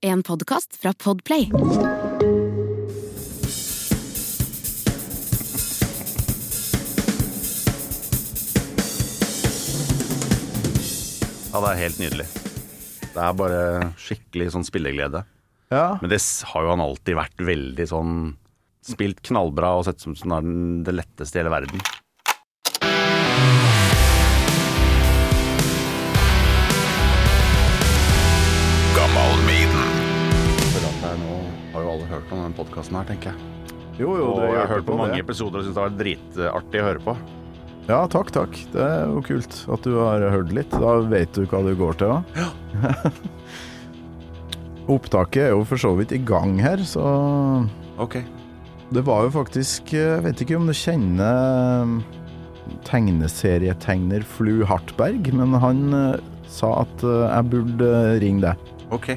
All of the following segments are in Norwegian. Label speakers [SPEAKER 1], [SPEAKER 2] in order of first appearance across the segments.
[SPEAKER 1] En podkast fra Podplay.
[SPEAKER 2] Ja, det er helt nydelig. Det er bare skikkelig sånn spilleglede.
[SPEAKER 3] Ja.
[SPEAKER 2] Men det s- har jo han alltid vært veldig sånn Spilt knallbra og sett som som er den, det letteste i hele verden. For at det er nå har jo alle hørt om den podkasten her, tenker jeg.
[SPEAKER 3] Jo, jo,
[SPEAKER 2] Og
[SPEAKER 3] dere
[SPEAKER 2] jeg har
[SPEAKER 3] hørte
[SPEAKER 2] hørt på mange
[SPEAKER 3] det.
[SPEAKER 2] episoder og syns det har vært dritartig å høre på.
[SPEAKER 3] Ja, takk, takk. Det er jo kult at du har hørt litt. Da vet du hva du går til, da. Opptaket er jo for så vidt i gang her, så
[SPEAKER 2] Ok.
[SPEAKER 3] Det var jo faktisk Jeg vet ikke om du kjenner um, tegneserietegner Flu Hartberg, men han eh, sa at eh, jeg burde ringe deg.
[SPEAKER 2] Ok.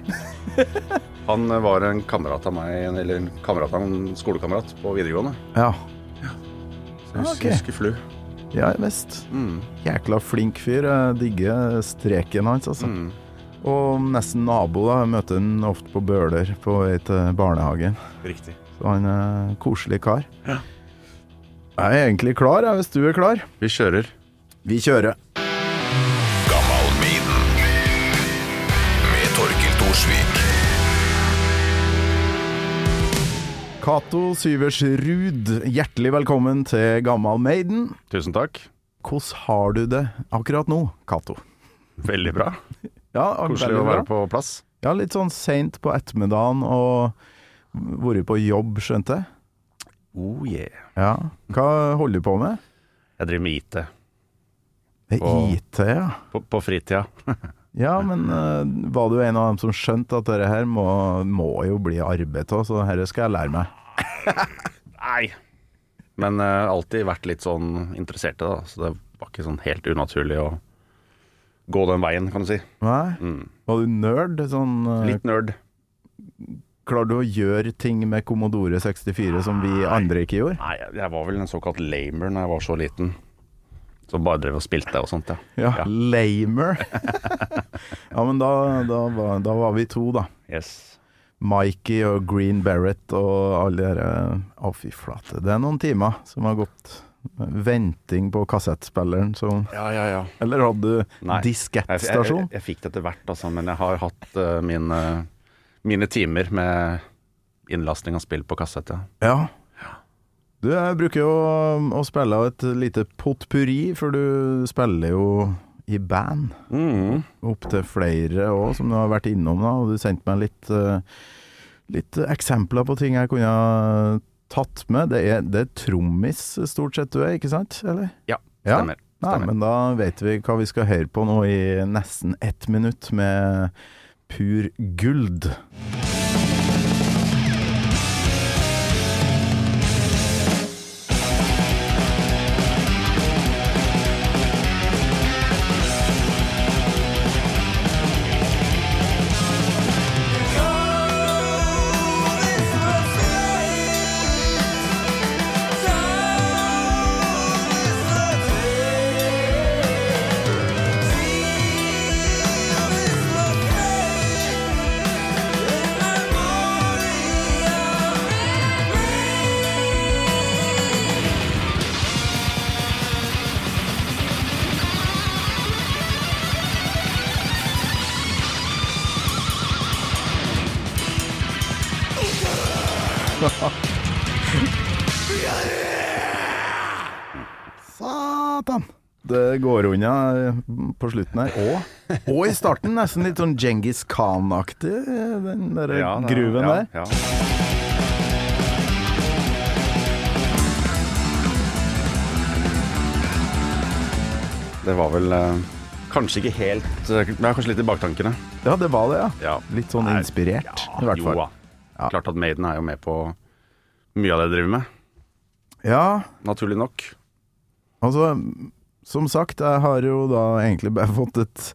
[SPEAKER 2] Han eh, var en kamerat av meg, eller en kamerat av en skolekamerat på videregående.
[SPEAKER 3] Ja.
[SPEAKER 2] Så jeg hus-
[SPEAKER 3] Ok.
[SPEAKER 2] husker flu.
[SPEAKER 3] Ja visst.
[SPEAKER 2] Mm,
[SPEAKER 3] Jækla flink fyr. Jeg digger streken hans, altså.
[SPEAKER 2] mm.
[SPEAKER 3] Og nesten nabo, da. Jeg møter han ofte på Bøler på vei til barnehagen.
[SPEAKER 2] Riktig.
[SPEAKER 3] Så han er en koselig kar.
[SPEAKER 2] Ja.
[SPEAKER 3] Jeg er egentlig klar, jeg, hvis du er klar.
[SPEAKER 2] Vi kjører.
[SPEAKER 3] Vi kjører.
[SPEAKER 4] med Torkil Thorsvik.
[SPEAKER 3] Cato Syversrud, hjertelig velkommen til Gammal Maiden.
[SPEAKER 2] Tusen takk.
[SPEAKER 3] Hvordan har du det akkurat nå, Cato?
[SPEAKER 2] Veldig bra.
[SPEAKER 3] Ja,
[SPEAKER 2] Koselig
[SPEAKER 3] veldig
[SPEAKER 2] å
[SPEAKER 3] bra.
[SPEAKER 2] være på plass.
[SPEAKER 3] Ja, litt sånn seint på ettermiddagen og vært på jobb, skjønte jeg.
[SPEAKER 2] Oh yeah.
[SPEAKER 3] Ja. Hva holder du på med?
[SPEAKER 2] Jeg driver med IT
[SPEAKER 3] Det er
[SPEAKER 2] Og-
[SPEAKER 3] IT, ja.
[SPEAKER 2] på, på fritida.
[SPEAKER 3] Ja, men eh, var du en av dem som skjønte at dette her må, må jo bli arbeid av, så dette skal jeg lære meg.
[SPEAKER 2] Nei. Men eh, alltid vært litt sånn interessert i det, da. Så det var ikke sånn helt unaturlig å gå den veien, kan du si.
[SPEAKER 3] Nei?
[SPEAKER 2] Mm.
[SPEAKER 3] Var du nerd? Sånn, eh,
[SPEAKER 2] Litt nerd.
[SPEAKER 3] klarer du å gjøre ting med Commodore 64 som vi andre ikke gjorde?
[SPEAKER 2] Nei, jeg- jeg var vel en såkalt lamer når jeg var så liten. Som bare drev og spilte og sånt, ja.
[SPEAKER 3] Ja,
[SPEAKER 2] Ja.
[SPEAKER 3] lamer. ja, men da, da, var, da var vi to, da.
[SPEAKER 2] Yes.
[SPEAKER 3] Mikey og Green Barrett og alle de der- Å, fy flate. Det er noen timer som har gått. Venting på kassettspilleren som
[SPEAKER 2] Ja, ja, ja.
[SPEAKER 3] Eller hadde
[SPEAKER 2] Nei.
[SPEAKER 3] du diskettstasjon?
[SPEAKER 2] Jeg, jeg, jeg fikk det etter hvert, altså, men jeg har hatt eh, mine, mine timer med innlasting av spill på kassett. Ja.
[SPEAKER 3] Ja. Du, jeg bruker jo å, å spille av et lite potpurri, for du spiller jo i band. Mm. Opptil flere òg, som du har vært innom, da, og du sendte meg litt, eh, litt eksempler på ting jeg kunne ha tatt med. Det er, det er trommis stort sett du er, ikke sant? Eller?
[SPEAKER 2] Ja,
[SPEAKER 3] Ja.
[SPEAKER 2] stemmer.
[SPEAKER 3] Nei,
[SPEAKER 2] stemmer.
[SPEAKER 3] men da vet vi hva vi skal høre på nå i nesten ett minutt med Pur Guld. Satan! Det går unna på slutten her. Og, og i starten nesten litt sånn Djengis Khan-aktig, den der
[SPEAKER 2] Ja, da-
[SPEAKER 3] gruven
[SPEAKER 2] ja,
[SPEAKER 3] der.
[SPEAKER 2] Ja. Det var vel eh, kanskje ikke helt eh, Men jeg er kanskje litt i baktankene.
[SPEAKER 3] Ja, det var det, ja.
[SPEAKER 2] Ja.
[SPEAKER 3] Litt sånn
[SPEAKER 2] Nei,
[SPEAKER 3] inspirert, i hvert
[SPEAKER 2] Jo
[SPEAKER 3] fall.
[SPEAKER 2] da. Klart at Maiden er jo med på mye av det jeg driver med,
[SPEAKER 3] Ja,
[SPEAKER 2] naturlig nok.
[SPEAKER 3] altså, som sagt, jeg har jo da egentlig bare fått et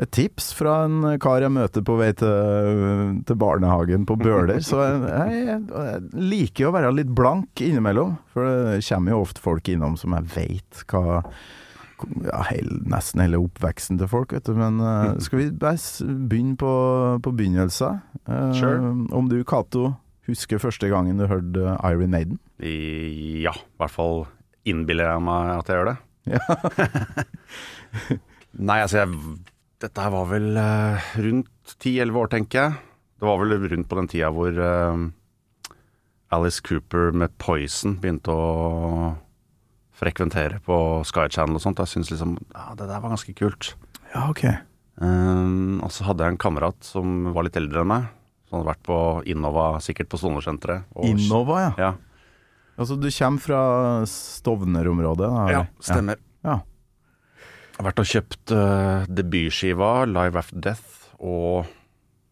[SPEAKER 3] et tips fra en kar jeg møter på vei til, til barnehagen på Bøler. Så jeg, jeg, jeg liker å være litt blank innimellom, for det kommer jo ofte folk innom som jeg veit hva ja, hel, nesten hele oppveksten til folk, vet du. Men eh, skal vi bare s- begynne på, på begynnelsen? Eh,
[SPEAKER 2] Sure.
[SPEAKER 3] Om du, Cato, husker første gangen du hørte eh, Iron Maiden?
[SPEAKER 2] I, ja, i hvert fall innbiller jeg meg at jeg gjør det. Nei, altså jeg, Dette her var vel eh, rundt 10-11 år, tenker jeg. Det var vel rundt på den tida hvor eh, Alice Cooper med Poison begynte å frekventere på Sky Channel og sånt. Jeg syns liksom ja, det der var ganske kult.
[SPEAKER 3] Ja, ok.
[SPEAKER 2] Um, og så hadde jeg en kamerat som var litt eldre enn meg. Som hadde vært på Innova, sikkert på Sonersenteret. og-
[SPEAKER 3] Innova, ja.
[SPEAKER 2] Ja,
[SPEAKER 3] Altså, du kommer fra Stovner-området? da, eller?
[SPEAKER 2] ja, stemmer.
[SPEAKER 3] Ah, Ja. Ja.
[SPEAKER 2] Jeg har vært og kjøpt eh, debutskiva Live After Death og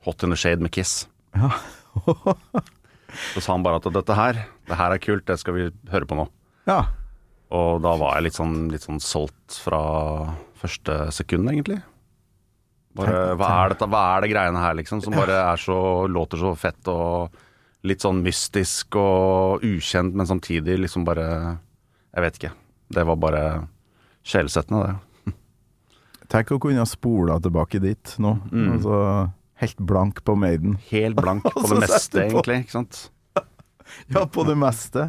[SPEAKER 2] Hot in the Shade med Kiss.
[SPEAKER 3] Ja.
[SPEAKER 2] Så sa han bare at dette her, det her er kult, det skal vi høre på nå.
[SPEAKER 3] ja.
[SPEAKER 2] Og da var jeg litt sånn, litt sånn solgt fra første sekund, egentlig. Bare, hva er dette, hva er det greiene her, liksom, som bare er så, låter så fett og litt sånn mystisk og ukjent, men samtidig liksom bare Jeg vet ikke. Det var bare sjelesettende, det.
[SPEAKER 3] Tenk å kunne spola tilbake dit nå.
[SPEAKER 2] Mm.
[SPEAKER 3] Altså, helt blank på Maiden.
[SPEAKER 2] Helt blank på
[SPEAKER 3] Og så
[SPEAKER 2] det meste,
[SPEAKER 3] setter du på.
[SPEAKER 2] egentlig. ikke sant?
[SPEAKER 3] Ja, på det meste.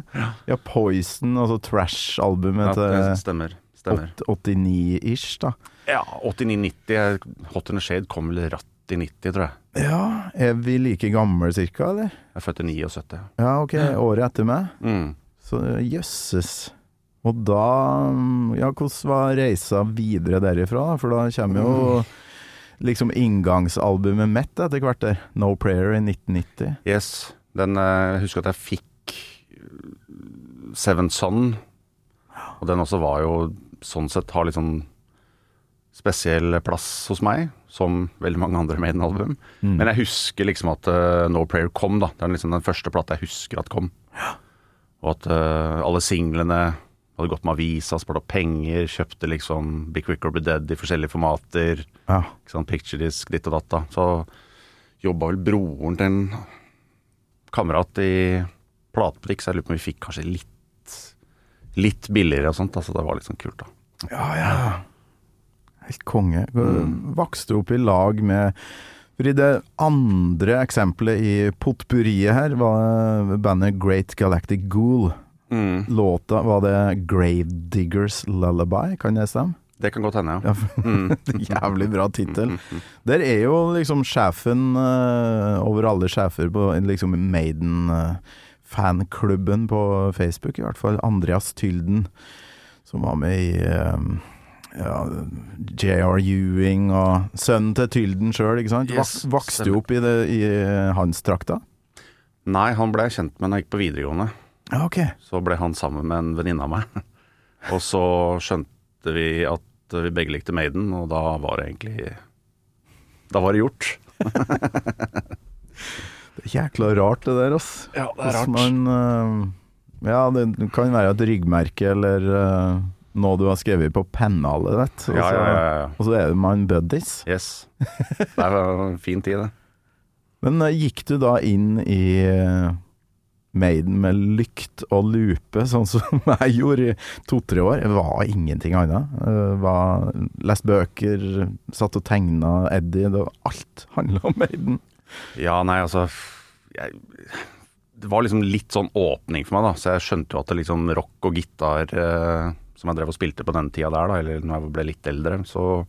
[SPEAKER 3] Ja, Poison, altså
[SPEAKER 2] Ja,
[SPEAKER 3] Trash-albumet
[SPEAKER 2] det
[SPEAKER 3] til
[SPEAKER 2] stemmer. stemmer.
[SPEAKER 3] 89-ish, da.
[SPEAKER 2] Ja, 89-90. Hot in the Shade kom vel ratt i 90, tror jeg.
[SPEAKER 3] Ja, er vi like gamle cirka, eller?
[SPEAKER 2] Jeg er født i 79.
[SPEAKER 3] Ja, ok, året etter meg.
[SPEAKER 2] Mm.
[SPEAKER 3] Så jøsses. Og da mm, Ja, hvordan var reisa videre derifra? da? For da kommer jo liksom inngangsalbumet mitt etter hvert der. No Prayer i 1990.
[SPEAKER 2] Yes. Den, eh, jeg husker at jeg fikk eh, Seven Son, og den også var jo sånn sett har litt sånn spesiell plass hos meg, som veldig mange andre Maiden-album. Men jeg husker liksom at eh, No Prayer kom, da. Det er liksom den første plata jeg husker at kom. Og at eh, alle singlene hadde gått med avisa, spart opp penger, kjøpte liksom Be Quick or Be Dead i forskjellige formater
[SPEAKER 3] Ja.
[SPEAKER 2] ikke sant, picturedisk, ditt og datt. da. Så jobba vel broren til en kamerat i platebutikk, så jeg lurer på om vi fikk kanskje litt Litt billigere og sånt, da, så det var litt sånn kult, da.
[SPEAKER 3] Ja, ja. Helt konge. Vokste opp i lag med for I det andre eksempelet i potpurriet her var eh, bandet Great Galactic Ghoul. Mm. Låta var det Gravediggers Lullaby, kan det stemme?
[SPEAKER 2] Det kan godt hende, ja.
[SPEAKER 3] Ja, for- Jævlig bra tittel. Der er jo liksom sjefen eh, over alle sjefer på liksom Maiden-fanklubben på Facebook, i hvert fall Andreas Tylden, som var med i eh, ja, J.R. Ewing og sønnen til Tylden sjøl, ikke sant?
[SPEAKER 2] Yes,
[SPEAKER 3] Vok vokste
[SPEAKER 2] stemmer.
[SPEAKER 3] jo opp i, det, i hans trakta.
[SPEAKER 2] Nei, han ble jeg kjent med når jeg gikk på videregående. Ah,
[SPEAKER 3] Ja, ok.
[SPEAKER 2] Så ble han sammen med en venninne av meg. Og så skjønte vi at vi begge likte Maiden, og da var det egentlig Da var det gjort.
[SPEAKER 3] Jækla rart det der, ass.
[SPEAKER 2] Ja,
[SPEAKER 3] Hvordan Man, eh, ja, det kan være et ryggmerke eller eh, noe du har skrevet på pennalet ditt. Og,
[SPEAKER 2] Ja,
[SPEAKER 3] så-
[SPEAKER 2] ja, ja, ja.
[SPEAKER 3] og så er man buddies.
[SPEAKER 2] Yes. Det var en fin tid, det.
[SPEAKER 3] Men eh, gikk du da inn i eh, Maiden med lykt og lupe, sånn som jeg gjorde i to-tre år? Det var ingenting annet. Eh, var, lest bøker, satt og tegna Eddie. Det var alt handla om Maiden.
[SPEAKER 2] Ja, nei, altså f- jeg, Det var liksom litt sånn åpning for meg, da. Så jeg skjønte jo at det liksom rock og gitar eh, som jeg drev og spilte på den tida der, da, eller når jeg ble litt eldre, så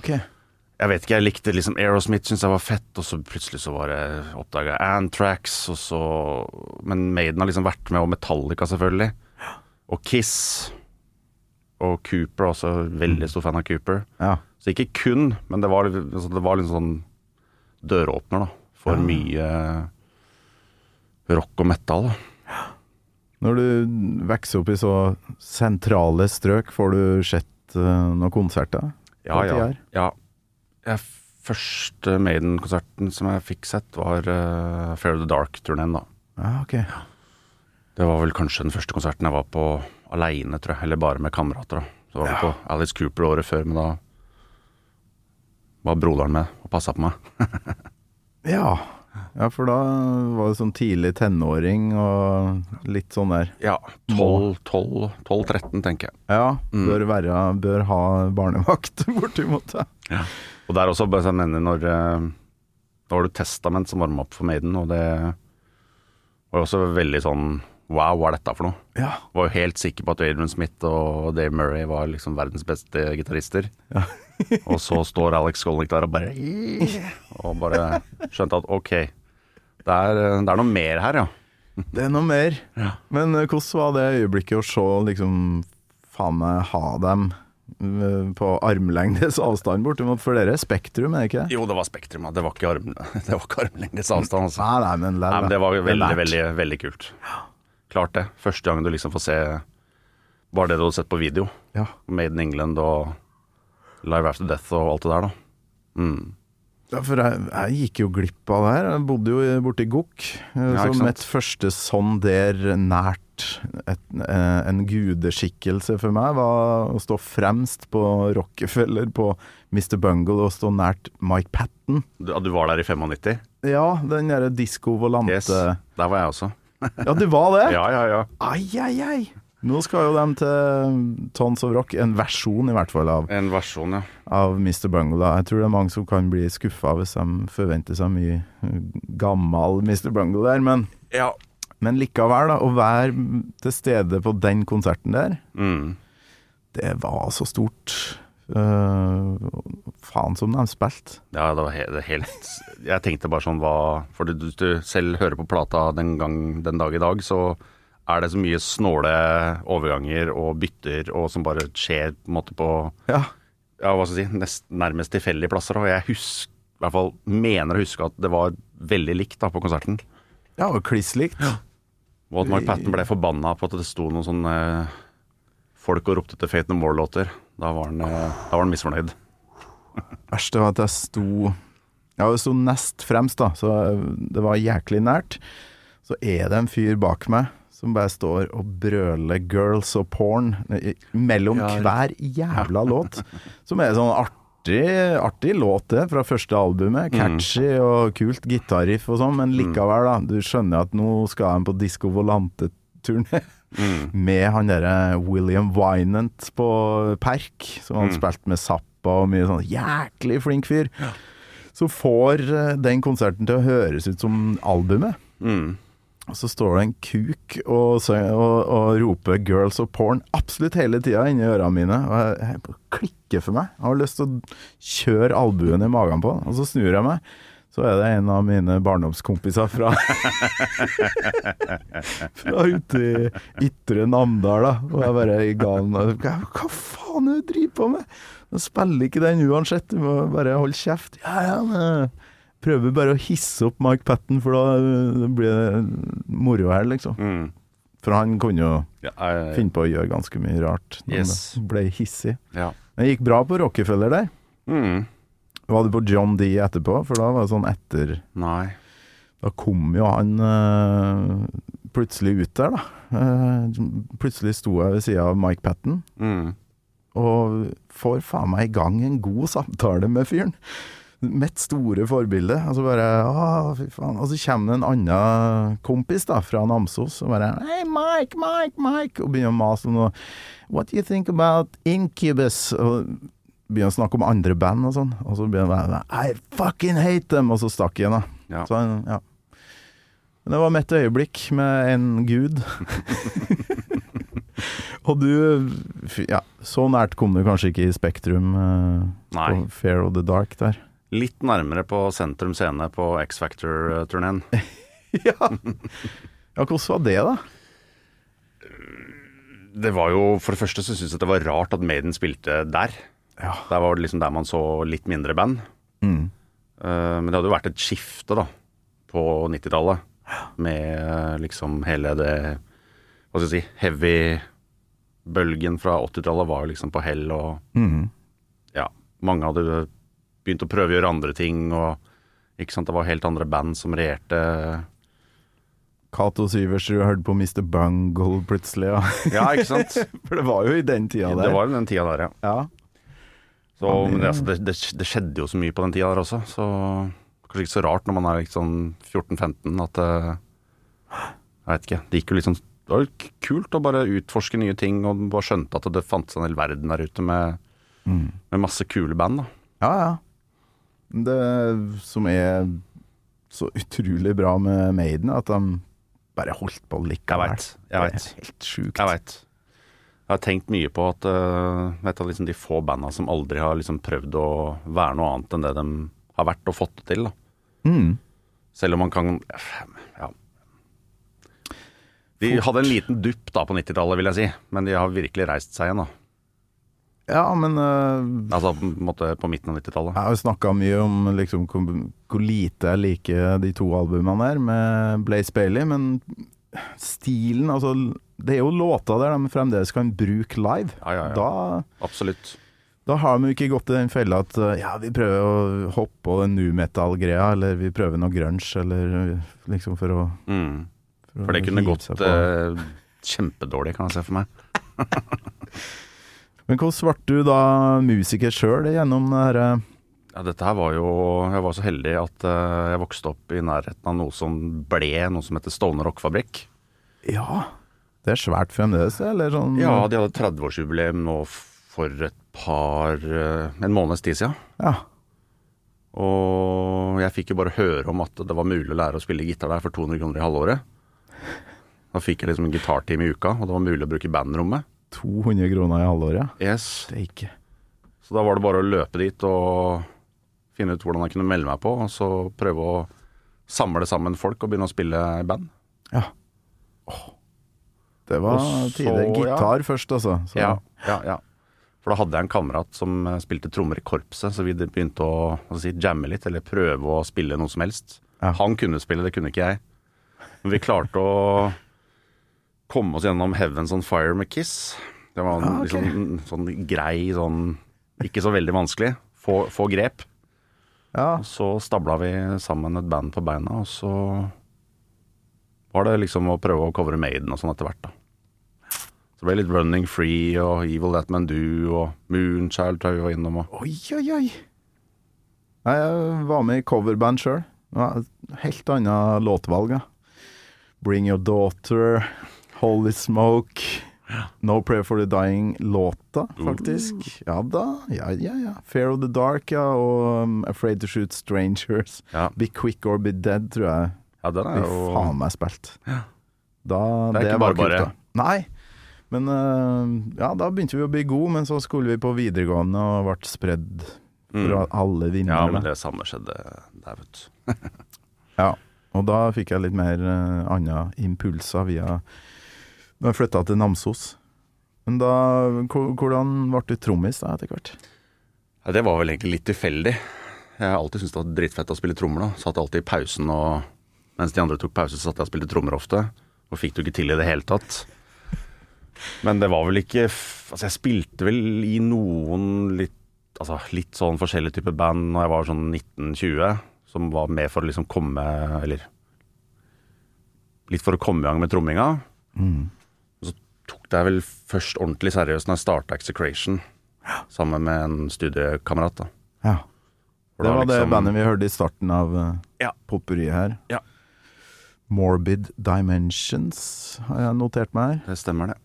[SPEAKER 3] Ok.
[SPEAKER 2] Jeg vet ikke, jeg likte liksom Aerosmith, syntes jeg var fett, og så plutselig så var jeg oppdaga Antrax, og så Men Maiden har liksom vært med, og Metallica selvfølgelig. Og Kiss. Og Cooper, også veldig stor fan av Cooper.
[SPEAKER 3] Ja.
[SPEAKER 2] Så ikke kun, men det var, altså, det var liksom sånn døråpner da, for mye rock og metal. Da.
[SPEAKER 3] Når du vokser opp i så sentrale strøk, får du sett eh, noen konserter?
[SPEAKER 2] Ja,
[SPEAKER 3] Hva
[SPEAKER 2] ja.
[SPEAKER 3] tid er?
[SPEAKER 2] ja. Jeg, første Maiden-konserten som jeg fikk sett, var eh, Fair of the Dark-turneen. da.
[SPEAKER 3] Ja, ok.
[SPEAKER 2] Det var vel kanskje den første konserten jeg var på aleine, tror jeg. Eller bare med kamerater. da. Så var det på Alice Cooper året før, men da var broderen med og passa på meg.
[SPEAKER 3] Ja, Ja, for da var det sånn tidlig tenåring og litt sånn der.
[SPEAKER 2] Ja, 12-13, tenker jeg.
[SPEAKER 3] Ja,
[SPEAKER 2] Mm.
[SPEAKER 3] bør være Bør ha barnevakt, bortimot. Ja.
[SPEAKER 2] Og der også, bare så jeg mener, når eh, Da var det Testament som varma opp for Maiden, og det var jo også veldig sånn Wow, hva er dette for noe?
[SPEAKER 3] ja.
[SPEAKER 2] Var jo helt sikker på at Adrian Smith og Dave Murray var liksom verdens beste gitarister. og så står Alex Skolnick der og bare Og bare skjønte at ok, det er, det er noe mer her, ja.
[SPEAKER 3] Det er noe mer. Men eh, hvordan var det øyeblikket å se liksom faen meg ha dem eh, på armlengdes avstand bortimot? For dere er Spektrum, er det ikke det?
[SPEAKER 2] Jo, det var Spektrum, ja. Det var ikke, arm, det var ikke armlengdes avstand, altså.
[SPEAKER 3] Nei, nei, men, lær,
[SPEAKER 2] Nei, men det var veldig,
[SPEAKER 3] lært.
[SPEAKER 2] veldig, veldig kult. Klart det. Første gang du liksom får se bare det du hadde sett på video.
[SPEAKER 3] Ja.
[SPEAKER 2] Made in England og Live After Death og alt det der, da.
[SPEAKER 3] Ja, for jeg, jeg gikk jo glipp av det her. Jeg bodde jo i- borte i Gokk. eh,
[SPEAKER 2] Ja, ikke
[SPEAKER 3] så
[SPEAKER 2] sant?
[SPEAKER 3] mitt første sånn der nært et, eh, en gudeskikkelse for meg var å stå fremst på Rockefeller på Mr. Bungle og stå nært Mike Patten.
[SPEAKER 2] Du, du var der i 95?
[SPEAKER 3] Ja, den derre disko volante
[SPEAKER 2] Yes. Der var jeg også.
[SPEAKER 3] Ja, du var det?
[SPEAKER 2] eh, Ja, ja, ja.
[SPEAKER 3] Ai, ai, ai. Nå skal jo dem til Tons of Rock, en versjon i hvert fall av,
[SPEAKER 2] En versjon, ja.
[SPEAKER 3] av Mr. Bungle. da. Jeg tror det er mange som kan bli skuffa hvis de forventer seg mye eh, gammel Mr. Bungle der, men
[SPEAKER 2] Ja.
[SPEAKER 3] Men likevel, da, å være til stede på den konserten der,
[SPEAKER 2] Mm.
[SPEAKER 3] det var så stort. Eh, faen som de spilte.
[SPEAKER 2] Ja, det var he det helt Jeg tenkte bare sånn hva For du, du selv hører på plata den, gang, den dag i dag, så er det så mye snåle overganger og bytter og som bare skjer på en måte på
[SPEAKER 3] Ja.
[SPEAKER 2] ja, hva skal jeg si, nest, nærmest tilfeldige plasser. Og jeg husker, i hvert fall mener å huske at det var veldig likt da på konserten.
[SPEAKER 3] ja, og kliss likt.
[SPEAKER 2] Og at Mark Patten ble forbanna på at det sto noen sånne eh, folk og ropte til Fate No More-låter. Da, var han, eh, da var han misfornøyd.
[SPEAKER 3] Verste var at jeg sto Ja, jeg sto nest fremst, da, så det var jæklig nært. Så er det en fyr bak meg som bare står og brøler 'girls og porn' i- mellom
[SPEAKER 2] Ja.
[SPEAKER 3] hver jævla låt. Som er sånn artig, artig låt, det, fra første albumet. Catchy og kult gitarriff og sånn, men likevel, da. Du skjønner at nå skal han på Disco Volante-turné. Med han derre William Winant på Perk, som han spilte med Zappa og mye sånn. Jæklig flink fyr. Så får eh, den konserten til å høres ut som albumet.
[SPEAKER 2] Mm.
[SPEAKER 3] Og så står det en kuk og, sø- og, og roper 'girls of porn' absolutt hele tida inni ørene mine. Og jeg, jeg bare klikker for meg. Jeg har lyst til å kjøre albuen i magen på den. Og så snur jeg meg, så er det en av mine barndomskompiser fra Fra ute i Ytre Namdal, da. Og jeg bare ga han Hva hva faen er det du driver på med? Du spiller ikke den uansett, du må bare holde kjeft. Ja, ja, men jeg Prøver bare å hisse opp Mark Patten, for da øh, blir det moro her, liksom.
[SPEAKER 2] Mm.
[SPEAKER 3] For han kunne jo
[SPEAKER 2] Ja, eh,
[SPEAKER 3] finne på å gjøre ganske mye rart. når
[SPEAKER 2] Yes.
[SPEAKER 3] han Ble hissig.
[SPEAKER 2] ja.
[SPEAKER 3] Men det gikk bra på Rockefeller der.
[SPEAKER 2] Mm.
[SPEAKER 3] Var du på John D etterpå? For da var det sånn etter
[SPEAKER 2] Nei.
[SPEAKER 3] Da kom jo han øh, plutselig ut der, da. Eh, plutselig sto jeg ved sida av Mike Patten
[SPEAKER 2] Mm.
[SPEAKER 3] og får faen meg i gang en god samtale med fyren. Mitt store forbilde. Og så bare Å, fy faen. Og så kommer det en annen kompis da, fra Namsos og bare Hei, Mike, Mike, Mike! Og begynner å mase om noe. What do you think about Incubus? Og begynner å snakke om andre band og sånn. Og så begynner han bare I fucking hate them! Og så stakk igjen, da.
[SPEAKER 2] Ja.
[SPEAKER 3] Så han, ja. Men det var mitt øyeblikk med en gud. og du fy- Ja, så nært kom du kanskje ikke i Spektrum eh,
[SPEAKER 2] Nei.
[SPEAKER 3] på Fair of the Dark der.
[SPEAKER 2] Litt nærmere på Sentrum Scene på X Factor-turneen.
[SPEAKER 3] ja. ja, hvordan var det, da?
[SPEAKER 2] Det var jo, For det første så syntes jeg det var rart at Maiden spilte der.
[SPEAKER 3] Ja.
[SPEAKER 2] Der var det liksom der man så litt mindre band.
[SPEAKER 3] Mm.
[SPEAKER 2] Eh, Men det hadde jo vært et skifte da på 90-tallet. Med eh, liksom hele det Hva skal jeg si Heavy-bølgen fra 80-tallet var jo liksom på hell, og
[SPEAKER 3] Mhm.
[SPEAKER 2] ja Mange hadde begynt å prøve å gjøre andre ting, og ikke sant, det var helt andre band som regjerte.
[SPEAKER 3] Cato Syversrud hørte på Mr. Bungle plutselig, ja.
[SPEAKER 2] Ja, ikke sant?
[SPEAKER 3] For det var jo i den tida der.
[SPEAKER 2] Det var jo den tida der, ja.
[SPEAKER 3] ja.
[SPEAKER 2] Så, men det, altså, det, det, det skjedde jo så mye på den tida der også, så kanskje ikke så rart når man er liksom 14-15 at eh, Jeg vet ikke. Det gikk jo liksom Det var jo kult å bare utforske nye ting og bare skjønte at det fantes en hel verden der ute med,
[SPEAKER 3] Mm.
[SPEAKER 2] med masse kule band. da
[SPEAKER 3] Ja, ja. Det som er så utrolig bra med Maiden, at de bare holdt på likevel.
[SPEAKER 2] Jeg vet, jeg vet.
[SPEAKER 3] Det er helt sjukt.
[SPEAKER 2] Jeg veit. Jeg har tenkt mye på at eh, et av liksom de få banda som aldri har liksom prøvd å være noe annet enn det de har vært og fått det til. Da.
[SPEAKER 3] Mm.
[SPEAKER 2] Selv om man kan ja. De hadde en liten dupp da på 90-tallet, vil jeg si. Men de har virkelig reist seg igjen. da
[SPEAKER 3] Ja, men eh,
[SPEAKER 2] Altså på, en måte, på midten av 90-tallet.
[SPEAKER 3] jeg har jo snakka mye om liksom, hvor, hvor lite jeg liker de to albumene her med Blaze Bailey, men stilen Altså, det er jo låter der de fremdeles kan bruke live.
[SPEAKER 2] Ja, ja, ja.
[SPEAKER 3] Da
[SPEAKER 2] Absolutt.
[SPEAKER 3] Da har vi jo ikke gått i den fella at uh, ja, vi prøver å hoppe på den nu metal-greia, eller vi prøver noe grunge, eller uh, liksom for å
[SPEAKER 2] Mm.
[SPEAKER 3] å
[SPEAKER 2] For det kunne
[SPEAKER 3] hive
[SPEAKER 2] gått
[SPEAKER 3] seg på.
[SPEAKER 2] eh, kjempedårlig, kan jeg se for meg.
[SPEAKER 3] Men hvordan ble du da musiker sjøl gjennom det eh, herre
[SPEAKER 2] Ja, dette her var jo Jeg var så heldig at eh, jeg vokste opp i nærheten av noe som ble noe som heter Stovner rockefabrikk.
[SPEAKER 3] Ja, det er svært fremdeles, eller sånn?
[SPEAKER 2] Ja, de hadde 30-årsjubileum nå for et par eh, En måneds tid siden.
[SPEAKER 3] ja.
[SPEAKER 2] Og jeg fikk jo bare høre om at det var mulig å lære å spille gitar der for 200 kroner i halvåret. Da fikk jeg liksom en gitartime i uka, og det var mulig å bruke bandrommet.
[SPEAKER 3] 200 kroner i halvåret?
[SPEAKER 2] Yes.
[SPEAKER 3] Det er ikke
[SPEAKER 2] Så da var det bare å løpe dit og finne ut hvordan jeg kunne melde meg på, og så prøve å samle sammen folk og begynne å spille i band.
[SPEAKER 3] Ja. Åh. Det var
[SPEAKER 2] Og så,
[SPEAKER 3] tider.
[SPEAKER 2] ja.
[SPEAKER 3] Gitar først, altså. Så.
[SPEAKER 2] Ja, ja, ja. For da hadde jeg en kamerat som eh, spilte trommer i korpset, så vi begynte å hva skal jeg si, jamme litt, eller prøve å spille noe som helst.
[SPEAKER 3] Ja.
[SPEAKER 2] Han kunne spille, det kunne ikke jeg. Men vi klarte å komme oss gjennom Heavens on Fire med Kiss. Det var en
[SPEAKER 3] Ah, ok.
[SPEAKER 2] liksom, en sånn grei, sånn ikke så veldig vanskelig. Få, få grep.
[SPEAKER 3] ja.
[SPEAKER 2] Og så stabla vi sammen et band på beina, og så var det liksom å prøve å covre Maiden og sånn etter hvert, da. Så det ble litt Running Free og Evil That Man Do og Moonchild tror jeg vi var innom og
[SPEAKER 3] Oi, oi, oi. Nei, jeg var med i coverband sjøl. Helt annet låtvalg. Ja. Bring Your Daughter, Holy Smoke, No Prayer for the Dying-låta, faktisk. Ja da. Ja, ja, ja. Fear of the Dark, ja. Og um, Afraid to Shoot Strangers.
[SPEAKER 2] Ja,
[SPEAKER 3] Be Quick or Be Dead, tror jeg.
[SPEAKER 2] ja den
[SPEAKER 3] Vi
[SPEAKER 2] er jo
[SPEAKER 3] faen meg spilt. Da,
[SPEAKER 2] Det er ikke bare
[SPEAKER 3] var kult,
[SPEAKER 2] bare.
[SPEAKER 3] da. Nei. Men øh, ja, da begynte vi å bli gode, men så skulle vi på videregående og ble spredd for
[SPEAKER 2] Mm.
[SPEAKER 3] alle
[SPEAKER 2] Ja, men
[SPEAKER 3] vinnerne.
[SPEAKER 2] det samme skjedde der, vet du.
[SPEAKER 3] Ja, og da fikk jeg litt mer øh, andre impulser via Da jeg flytta til Namsos. Men da hvor- Hvordan ble du trommis da, etter hvert?
[SPEAKER 2] Ja, det var vel egentlig litt tilfeldig. Jeg har alltid syntes det var dritfett å spille trommer. da Satt alltid i pausen og Mens de andre tok pause, så satt jeg og spilte trommer ofte. Og fikk det jo ikke til i det hele tatt. Men det var vel ikke f- Altså, jeg spilte vel i noen litt Altså litt sånn forskjellige typer band når jeg var sånn 19-20, som var med for å liksom komme Eller litt for å komme i gang med tromminga. Og så tok det vel først ordentlig seriøst når jeg starta Execration sammen med en studiekamerat. da.
[SPEAKER 3] Ja.
[SPEAKER 2] For
[SPEAKER 3] Det
[SPEAKER 2] da
[SPEAKER 3] var det
[SPEAKER 2] liksom-
[SPEAKER 3] bandet vi hørte i starten av øh,
[SPEAKER 2] Ja.
[SPEAKER 3] potpurriet her.
[SPEAKER 2] Ja.
[SPEAKER 3] Morbid Dimensions har jeg notert meg her.
[SPEAKER 2] Det stemmer, det.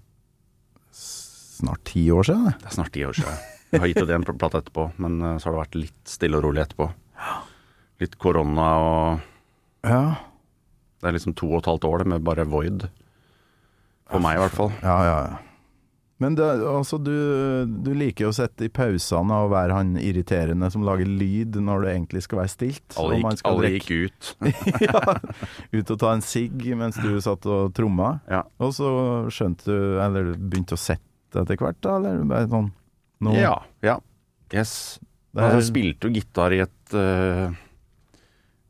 [SPEAKER 3] snart ti år siden. det.
[SPEAKER 2] Det er snart ti år siden. Jeg har gitt ut en pl- plate etterpå, men eh, så har det vært litt stille og rolig etterpå. Litt korona og
[SPEAKER 3] Ja,
[SPEAKER 2] Det er liksom to og et halvt år det, med bare void. For meg, i hvert fall.
[SPEAKER 3] ja, ja. ja. Men det, altså, du, du liker jo å sitte i pausene og være han irriterende som lager lyd når det egentlig skal være stilt.
[SPEAKER 2] Alle
[SPEAKER 3] og man
[SPEAKER 2] gikk,
[SPEAKER 3] skal
[SPEAKER 2] alle
[SPEAKER 3] drikke-
[SPEAKER 2] gikk ut.
[SPEAKER 3] ja, ut og ta en sigg mens du satt og tromma.
[SPEAKER 2] Ja.
[SPEAKER 3] Og så skjønte du, eller du begynte å sette etter hvert, da? Eller bare sånn nå-
[SPEAKER 2] Ja. ja. Yes.
[SPEAKER 3] det
[SPEAKER 2] Altså,
[SPEAKER 3] er-
[SPEAKER 2] jeg spilte jo gitar i et, eh,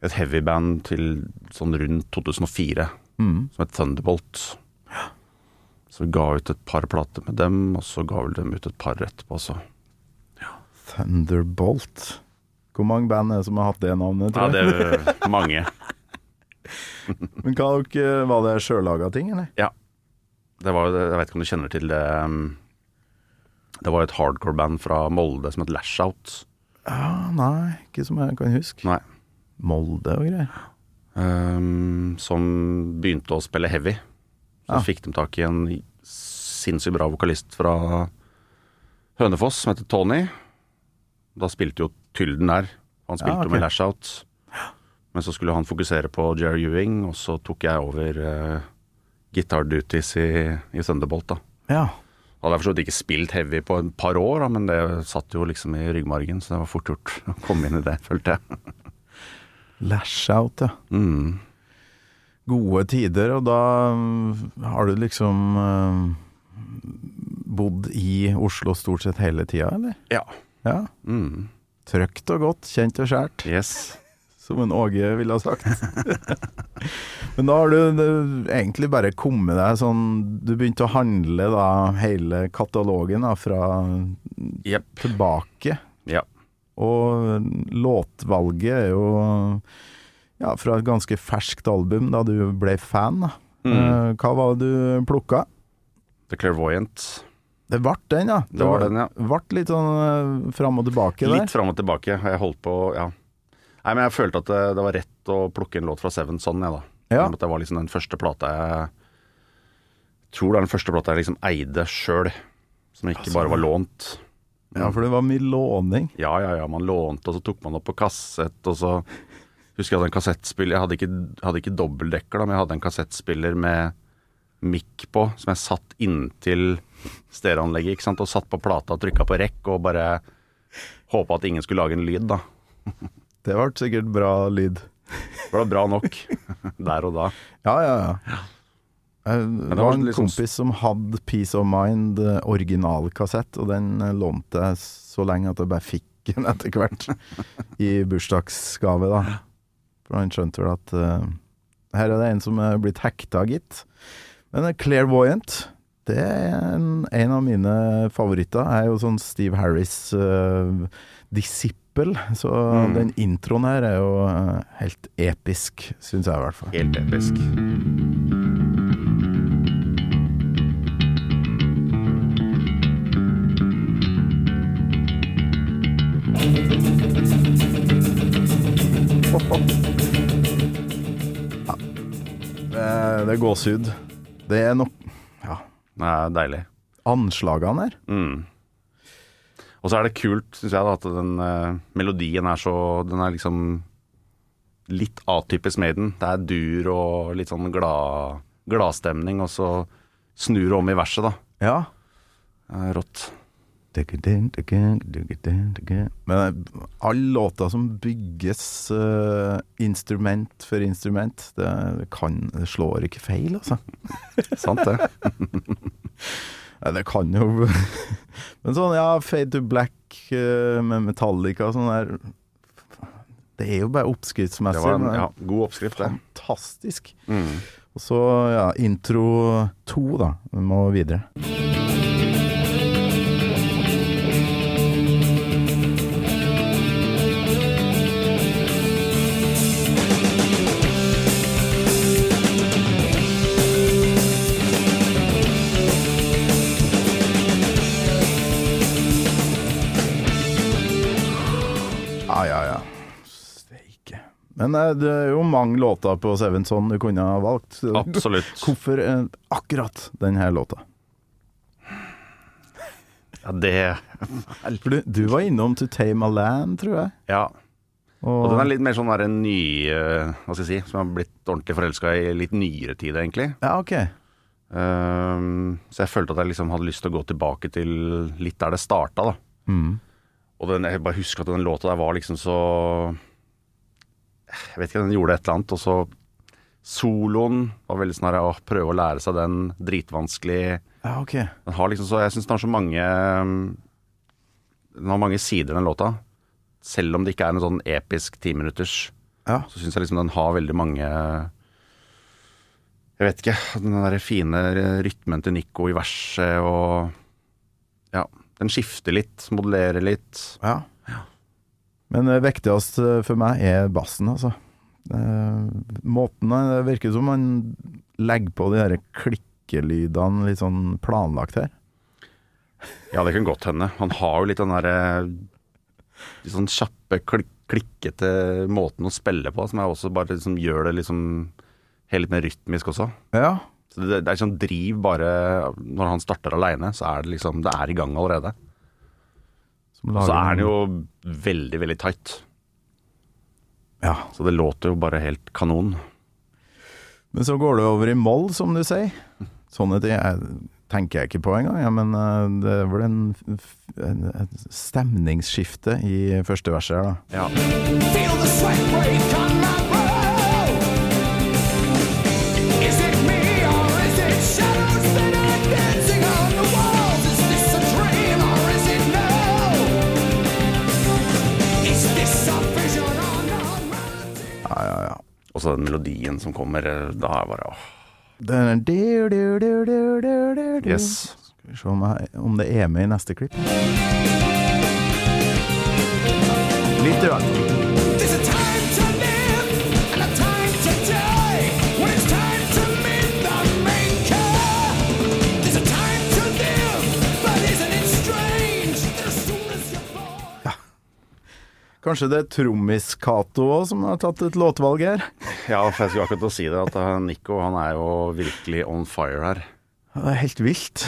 [SPEAKER 2] et heavyband til sånn rundt 2004.
[SPEAKER 3] Mm.
[SPEAKER 2] som het Thunderbolt. Så vi ga ut et par plater med dem, og så ga vel dem ut et par etterpå altså. også.
[SPEAKER 3] Thunderbolt. Hvor mange band er det som har hatt det navnet,
[SPEAKER 2] Ja,
[SPEAKER 3] tror
[SPEAKER 2] det
[SPEAKER 3] jeg?
[SPEAKER 2] er mange.
[SPEAKER 3] Men hva, dere- var det sjøllaga ting, eller?
[SPEAKER 2] Det var, jo- jeg vet ikke om du kjenner til det um, Det var et hardcore-band fra Molde som het Lashout.
[SPEAKER 3] Ja, nei, ikke som jeg kan huske.
[SPEAKER 2] Nei.
[SPEAKER 3] Molde og greier.
[SPEAKER 2] ehm, som begynte å spille heavy. Så
[SPEAKER 3] Ja.
[SPEAKER 2] fikk de tak i en sinnssykt bra vokalist fra Hønefoss som heter Tony. Da spilte jo Tylden der. Han spilte
[SPEAKER 3] Ja,
[SPEAKER 2] jo
[SPEAKER 3] ok.
[SPEAKER 2] med Lash Out. Men så skulle han fokusere på Jerry Ewing, og så tok jeg over eh, guitar duties i, i Thunderbolt, da.
[SPEAKER 3] Ja.
[SPEAKER 2] Hadde jeg for så vidt ikke spilt heavy på et par år, da, men det satt jo liksom i ryggmargen, så det var fort gjort å komme inn i det, følte jeg.
[SPEAKER 3] Lash out, ja.
[SPEAKER 2] Mm.
[SPEAKER 3] Gode tider, og da mm, har du liksom eh, bodd i Oslo stort sett hele tida, eller?
[SPEAKER 2] Ja.
[SPEAKER 3] Ja.
[SPEAKER 2] Mm.
[SPEAKER 3] Trøkt og godt, kjent og skjært.
[SPEAKER 2] Yes.
[SPEAKER 3] Som en Åge ville ha sagt. Men da har du det- egentlig bare kommet deg sånn Du begynte å handle da hele katalogen da, fra
[SPEAKER 2] Jepp.
[SPEAKER 3] tilbake.
[SPEAKER 2] Ja.
[SPEAKER 3] Og låtvalget er jo ja, fra et ganske ferskt album da du ble fan. Da. Eh, Hva var det du plukka?
[SPEAKER 2] The Clairvoyant.
[SPEAKER 3] Det ble den, ja.
[SPEAKER 2] Det var den, ja.
[SPEAKER 3] Vart litt sånn eh, fram og tilbake der.
[SPEAKER 2] Litt fram og tilbake har jeg holdt på, ja. Nei, men jeg følte at det, det var rett å plukke en låt fra Seven Son, jeg, da.
[SPEAKER 3] Ja.
[SPEAKER 2] At det var liksom den første plata jeg Tror det er den første plata jeg liksom eide sjøl. Som ikke
[SPEAKER 3] Altså.
[SPEAKER 2] bare var lånt.
[SPEAKER 3] Ja, for det var mye låning.
[SPEAKER 2] Ja, ja, ja, man lånte, og så tok man opp på kassett, og så Husker jeg hadde en kassettspiller Jeg hadde ikke, hadde ikke dobbeltdekker, da, men jeg hadde en kassettspiller med mikk på, som jeg satt inntil stereoanlegget, ikke sant, og satt på plata og trykka på rekk, og bare håpa at ingen skulle lage en lyd, da.
[SPEAKER 3] Det ble sikkert bra lyd.
[SPEAKER 2] Det var bra nok der og da.
[SPEAKER 3] Ja, ja, ja. Jeg det
[SPEAKER 2] det
[SPEAKER 3] var
[SPEAKER 2] var
[SPEAKER 3] en
[SPEAKER 2] litt sånn-
[SPEAKER 3] kompis som hadde Peace of Mind eh, originalkassett, og den eh, lånte jeg så lenge at jeg bare fikk den etter hvert. I bursdagsgave, da. For han skjønte vel at eh, Her er det en som er blitt hekta, gitt. Men eh, Clairvoyant, det er en, en av mine favoritter. Jeg er jo sånn Steve Harris-disippel, så
[SPEAKER 2] Mm.
[SPEAKER 3] den introen her er jo eh, helt episk, syns jeg i hvert fall.
[SPEAKER 2] Helt episk.
[SPEAKER 3] Eh, Det er gåsehud. Det er nok ja,
[SPEAKER 2] Det er deilig.
[SPEAKER 3] anslagene her.
[SPEAKER 2] Mm. Og så er det kult, syns jeg, da, at den eh, melodien er så Den er liksom litt atypisk Maiden. Det er dur og litt sånn glad, gladstemning, og så snur det om i verset, da.
[SPEAKER 3] Ja.
[SPEAKER 2] Det er Rått.
[SPEAKER 3] Men eh, alle låter som bygges eh, instrument for instrument, det, kan, det slår ikke feil, altså.
[SPEAKER 2] Sant det.
[SPEAKER 3] Nei, det kan jo Men sånn, ja, Fade to Black eh, med Metallica og sånn der Det er jo bare
[SPEAKER 2] Det
[SPEAKER 3] oppskriftsmessig.
[SPEAKER 2] var en
[SPEAKER 3] men det er
[SPEAKER 2] ja, god oppskrift, det.
[SPEAKER 3] Fantastisk.
[SPEAKER 2] Mm.
[SPEAKER 3] Og så, ja, intro to, da. Vi må videre. Ja, ja, ja. Steike. Men eh, det er jo mange låter på Sevenson du kunne ha valgt.
[SPEAKER 2] Absolutt.
[SPEAKER 3] Hvorfor eh, akkurat denne låta?
[SPEAKER 2] Ja, det
[SPEAKER 3] For du, du var innom To Tame a Land, tror jeg.
[SPEAKER 2] Ja.
[SPEAKER 3] Og,
[SPEAKER 2] Og den er litt mer sånn der en ny eh, Hva skal jeg si, som har blitt ordentlig forelska i litt nyere tid, egentlig.
[SPEAKER 3] Ja, ok.
[SPEAKER 2] Ehm, så jeg følte at jeg liksom hadde lyst til å gå tilbake til litt der det starta, da.
[SPEAKER 3] Mm.
[SPEAKER 2] Og den, jeg bare husker at den låta der var liksom så Jeg vet ikke, den gjorde et eller annet, og så Soloen var veldig sånn her å prøve å lære seg den, dritvanskelig.
[SPEAKER 3] Ja, ok.
[SPEAKER 2] Den har liksom så Jeg syns den har så mange ehm, Den har mange sider, den låta. Selv om det ikke er en sånn episk timinutters
[SPEAKER 3] Ja.
[SPEAKER 2] så syns jeg liksom den har veldig mange Jeg vet ikke. Den der fine rytmen til Nico i verset og Ja. Den skifter litt, modellerer litt.
[SPEAKER 3] ja. Men det viktigste for meg er bassen, altså. Eh, måten han- Det virker som han legger på de der klikkelydene litt sånn planlagt her.
[SPEAKER 2] Ja, det kan godt hende. Han har jo litt den derre De sånn kjappe klikk klikkete måten å spille på, som jeg også bare liksom gjør det liksom helt mer rytmisk også.
[SPEAKER 3] Ja.
[SPEAKER 2] Så det, det er sånn driv bare Når han starter aleine, så er det liksom Det er i gang allerede.
[SPEAKER 3] Som
[SPEAKER 2] Og så
[SPEAKER 3] lager-
[SPEAKER 2] er den jo veldig, veldig tight.
[SPEAKER 3] Ja.
[SPEAKER 2] Så det låter jo bare helt kanon.
[SPEAKER 3] Men så går det over i moll, som du sier. Sånne ting jeg, tenker jeg ikke på engang, ja, men eh, det var en, f- en, et stemningsskifte i første verset her, da.
[SPEAKER 2] Ja.
[SPEAKER 4] Feel the sweat break on my brow. Is it me or is it shadows that are dancing on the walls? Is this a dream or is it now? Is this a vision or not?
[SPEAKER 2] Og så den melodien som kommer, eh, da er jeg bare åh.
[SPEAKER 3] Den er du, du, du, du, du, du, du.
[SPEAKER 2] Yes.
[SPEAKER 3] Skal vi se om, jeg, om det er med i neste klipp. Litt i hvert fall.
[SPEAKER 4] There's a time to live and a time to die. When it's time to meet the maker. There's a time to live, but isn't it strange that as soon as you're born?
[SPEAKER 3] Kanskje det er Trommis-Cato òg som har tatt et låtvalg her.
[SPEAKER 2] Ja, for jeg skulle akkurat til å si det, at eh, Nico han er jo virkelig on fire her.
[SPEAKER 3] Ja, Det er helt vilt.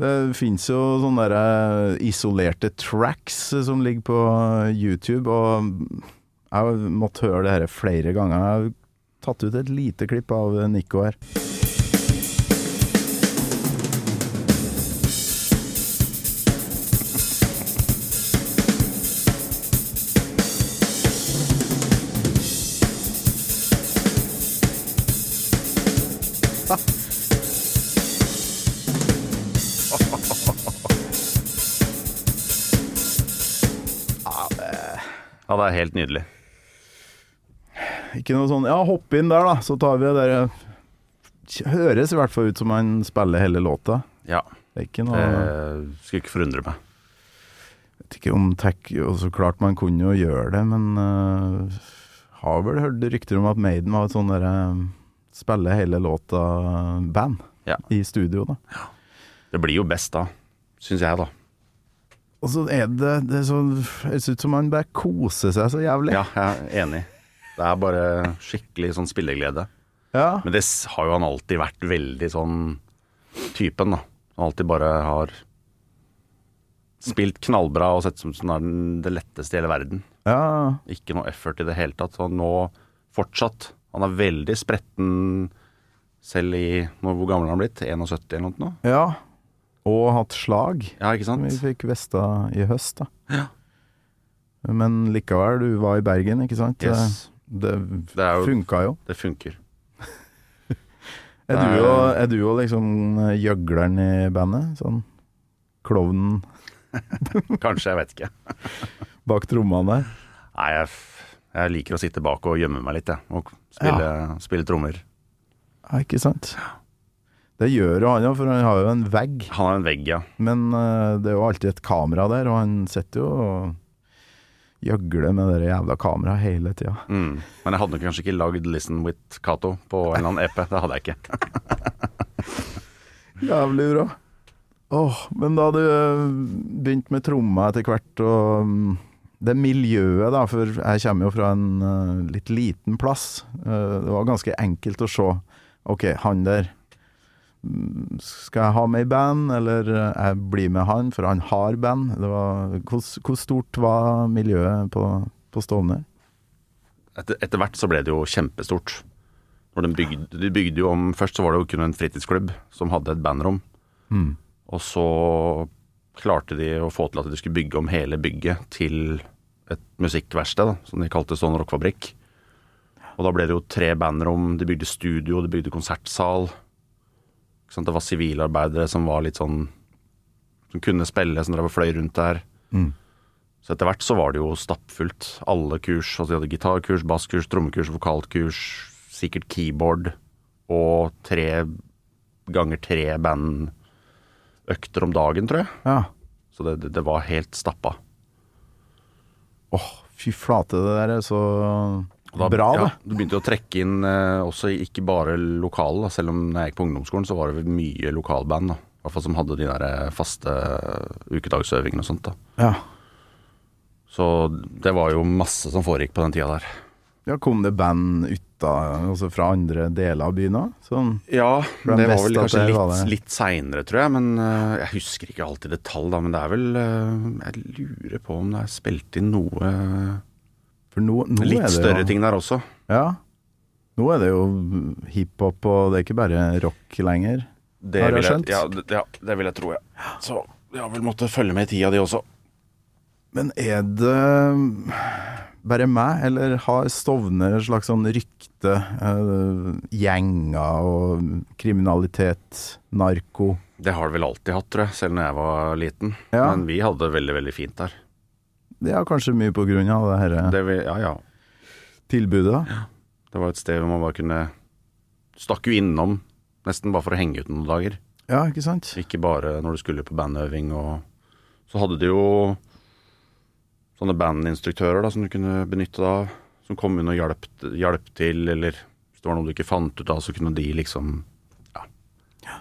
[SPEAKER 3] Det fins jo sånne der eh, isolerte tracks som ligger på eh, YouTube, og jeg måtte høre det her flere ganger. Jeg har tatt ut et lite klipp av Nico her.
[SPEAKER 2] Ja, det er helt nydelig.
[SPEAKER 3] Ikke noe sånn Ja, hopp inn der, da, så tar vi det der. eh, Høres i hvert fall ut som han spiller hele låta.
[SPEAKER 2] Ja.
[SPEAKER 3] Det er ikke noe
[SPEAKER 2] Det skulle ikke forundre meg.
[SPEAKER 3] vet ikke om tech Og så klart man kunne jo gjøre det, men øh, har vel hørt rykter om at Maiden var et sånn derre Spille hele låta-band
[SPEAKER 2] Ja.
[SPEAKER 3] i studio, da.
[SPEAKER 2] Det blir jo best da, syns jeg, da.
[SPEAKER 3] Og så er det Det er så, høres ut som man bare koser seg så jævlig.
[SPEAKER 2] Ja, jeg er enig. Det er bare skikkelig sånn spilleglede.
[SPEAKER 3] Ja.
[SPEAKER 2] Men det s- har jo han alltid vært veldig sånn typen, da. Han alltid bare har spilt knallbra og sett som sånn er den, det letteste i hele verden.
[SPEAKER 3] Ja.
[SPEAKER 2] Ikke noe effort i det hele tatt. Så han nå fortsatt Han er veldig spretten selv i nå, Hvor gammel har han blitt? 71 eller noe? nå?
[SPEAKER 3] ja. Og hatt slag,
[SPEAKER 2] Ja, ikke
[SPEAKER 3] som vi
[SPEAKER 2] sant?
[SPEAKER 3] fikk vesta i høst, da. Men likevel, du var i Bergen, ikke sant?
[SPEAKER 2] Yes.
[SPEAKER 3] Det,
[SPEAKER 2] Det er jo-
[SPEAKER 3] funka jo.
[SPEAKER 2] Det funker.
[SPEAKER 3] Er
[SPEAKER 2] Det
[SPEAKER 3] du
[SPEAKER 2] er-
[SPEAKER 3] og, er du og liksom gjøgleren i bandet? Sånn klovnen
[SPEAKER 2] Kanskje, jeg vet ikke.
[SPEAKER 3] bak trommene der?
[SPEAKER 2] Nei, jeg, f- jeg liker å sitte bak og gjemme meg litt, jeg. Og spille, spille trommer.
[SPEAKER 3] Ja, ikke sant? Det gjør jo han òg, for han har jo en vegg.
[SPEAKER 2] Han har en vegg, ja.
[SPEAKER 3] Men eh, det er jo alltid et kamera der, og han sitter jo og gjøgler med det jævla kameraet hele tida.
[SPEAKER 2] Mm. Men jeg hadde nok kanskje ikke lagd 'Listen with Cato' på en eller annen EP. Det hadde jeg ikke.
[SPEAKER 3] Jævlig bra. Åh, men da du eh, begynte med tromma etter hvert, og mm, det miljøet da, for jeg kommer jo fra en eh, litt liten plass, Eh, det var ganske enkelt å se, ok, han der, mm, skal jeg ha med i band, eller eh, jeg blir med han, for han har band. Det var, hvor, hvor stort var miljøet på, på Stovner?
[SPEAKER 2] Etter, etter hvert så ble det jo kjempestort. Når de, bygde, de bygde jo om Først så var det jo kun en fritidsklubb som hadde et bandrom. Og så klarte de å få til at de skulle bygge om hele bygget til et musikkverksted, da, som de kalte Stone Rockfabrikk. Og da ble det jo tre bandrom, de bygde studio, de bygde konsertsal. Ikke sant? Det var sivilarbeidere som var litt sånn Som kunne spille, som drev og fløy rundt der. Så etter hvert så var det jo stappfullt. Alle kurs. Altså de hadde gitarkurs, basskurs, trommekurs, vokalkurs, sikkert keyboard og tre ganger tre bandøkter om dagen, tror jeg.
[SPEAKER 3] Ja.
[SPEAKER 2] Så det, det, det var helt stappa.
[SPEAKER 3] Åh, fy flate, det der er så
[SPEAKER 2] Og da-
[SPEAKER 3] bra
[SPEAKER 2] ja,
[SPEAKER 3] det.
[SPEAKER 2] Du begynte jo å trekke inn eh, også ikke bare lokale, da. selv om når jeg gikk på ungdomsskolen så var det vel mye lokalband. da. eh, I hvert fall som hadde de der faste ukedagsøvingene og sånt. da.
[SPEAKER 3] Ja.
[SPEAKER 2] Så det var jo masse som foregikk på den tida der.
[SPEAKER 3] Ja, kom det band uta, altså fra andre deler av byen òg? Sånn.
[SPEAKER 2] Ja,
[SPEAKER 3] For den
[SPEAKER 2] det var vel
[SPEAKER 3] beste at
[SPEAKER 2] kanskje
[SPEAKER 3] det var
[SPEAKER 2] litt,
[SPEAKER 3] det.
[SPEAKER 2] litt seinere, tror jeg. Men eh, jeg husker ikke alltid detalj, da. Men det er vel eh, Jeg lurer på om det er spilt inn noe
[SPEAKER 3] For nå, nå er
[SPEAKER 2] litt
[SPEAKER 3] det
[SPEAKER 2] større
[SPEAKER 3] jo,
[SPEAKER 2] ting der også.
[SPEAKER 3] Ja. Nå er det jo hiphop, og det er ikke bare rock lenger.
[SPEAKER 2] Det
[SPEAKER 3] Har jeg
[SPEAKER 2] vil jeg,
[SPEAKER 3] skjønt?
[SPEAKER 2] ja, det, ja, det vil jeg tro, ja. Så de har vel måttet følge med i tida, de også.
[SPEAKER 3] Men er det bare meg, eller har Stovner et slags sånn rykte? eh, gjenger og kriminalitet, narko
[SPEAKER 2] Det har de vel alltid hatt, tror jeg, selv når jeg var liten.
[SPEAKER 3] Ja.
[SPEAKER 2] Men vi hadde det veldig, veldig fint der.
[SPEAKER 3] Det er kanskje mye på grunn av det her
[SPEAKER 2] Det, vi, ja, ja.
[SPEAKER 3] tilbudet.
[SPEAKER 2] det var et sted hvor man bare kunne Stakk jo innom nesten bare for å henge ut noen dager.
[SPEAKER 3] Ja, ikke sant?
[SPEAKER 2] Ikke bare når du skulle på bandøving og Så hadde de jo sånne bandinstruktører da, som du kunne benytte deg av. Som kom inn og hjalp, hjalp til, eller hvis det var noe du ikke fant ut av, så kunne de liksom ja,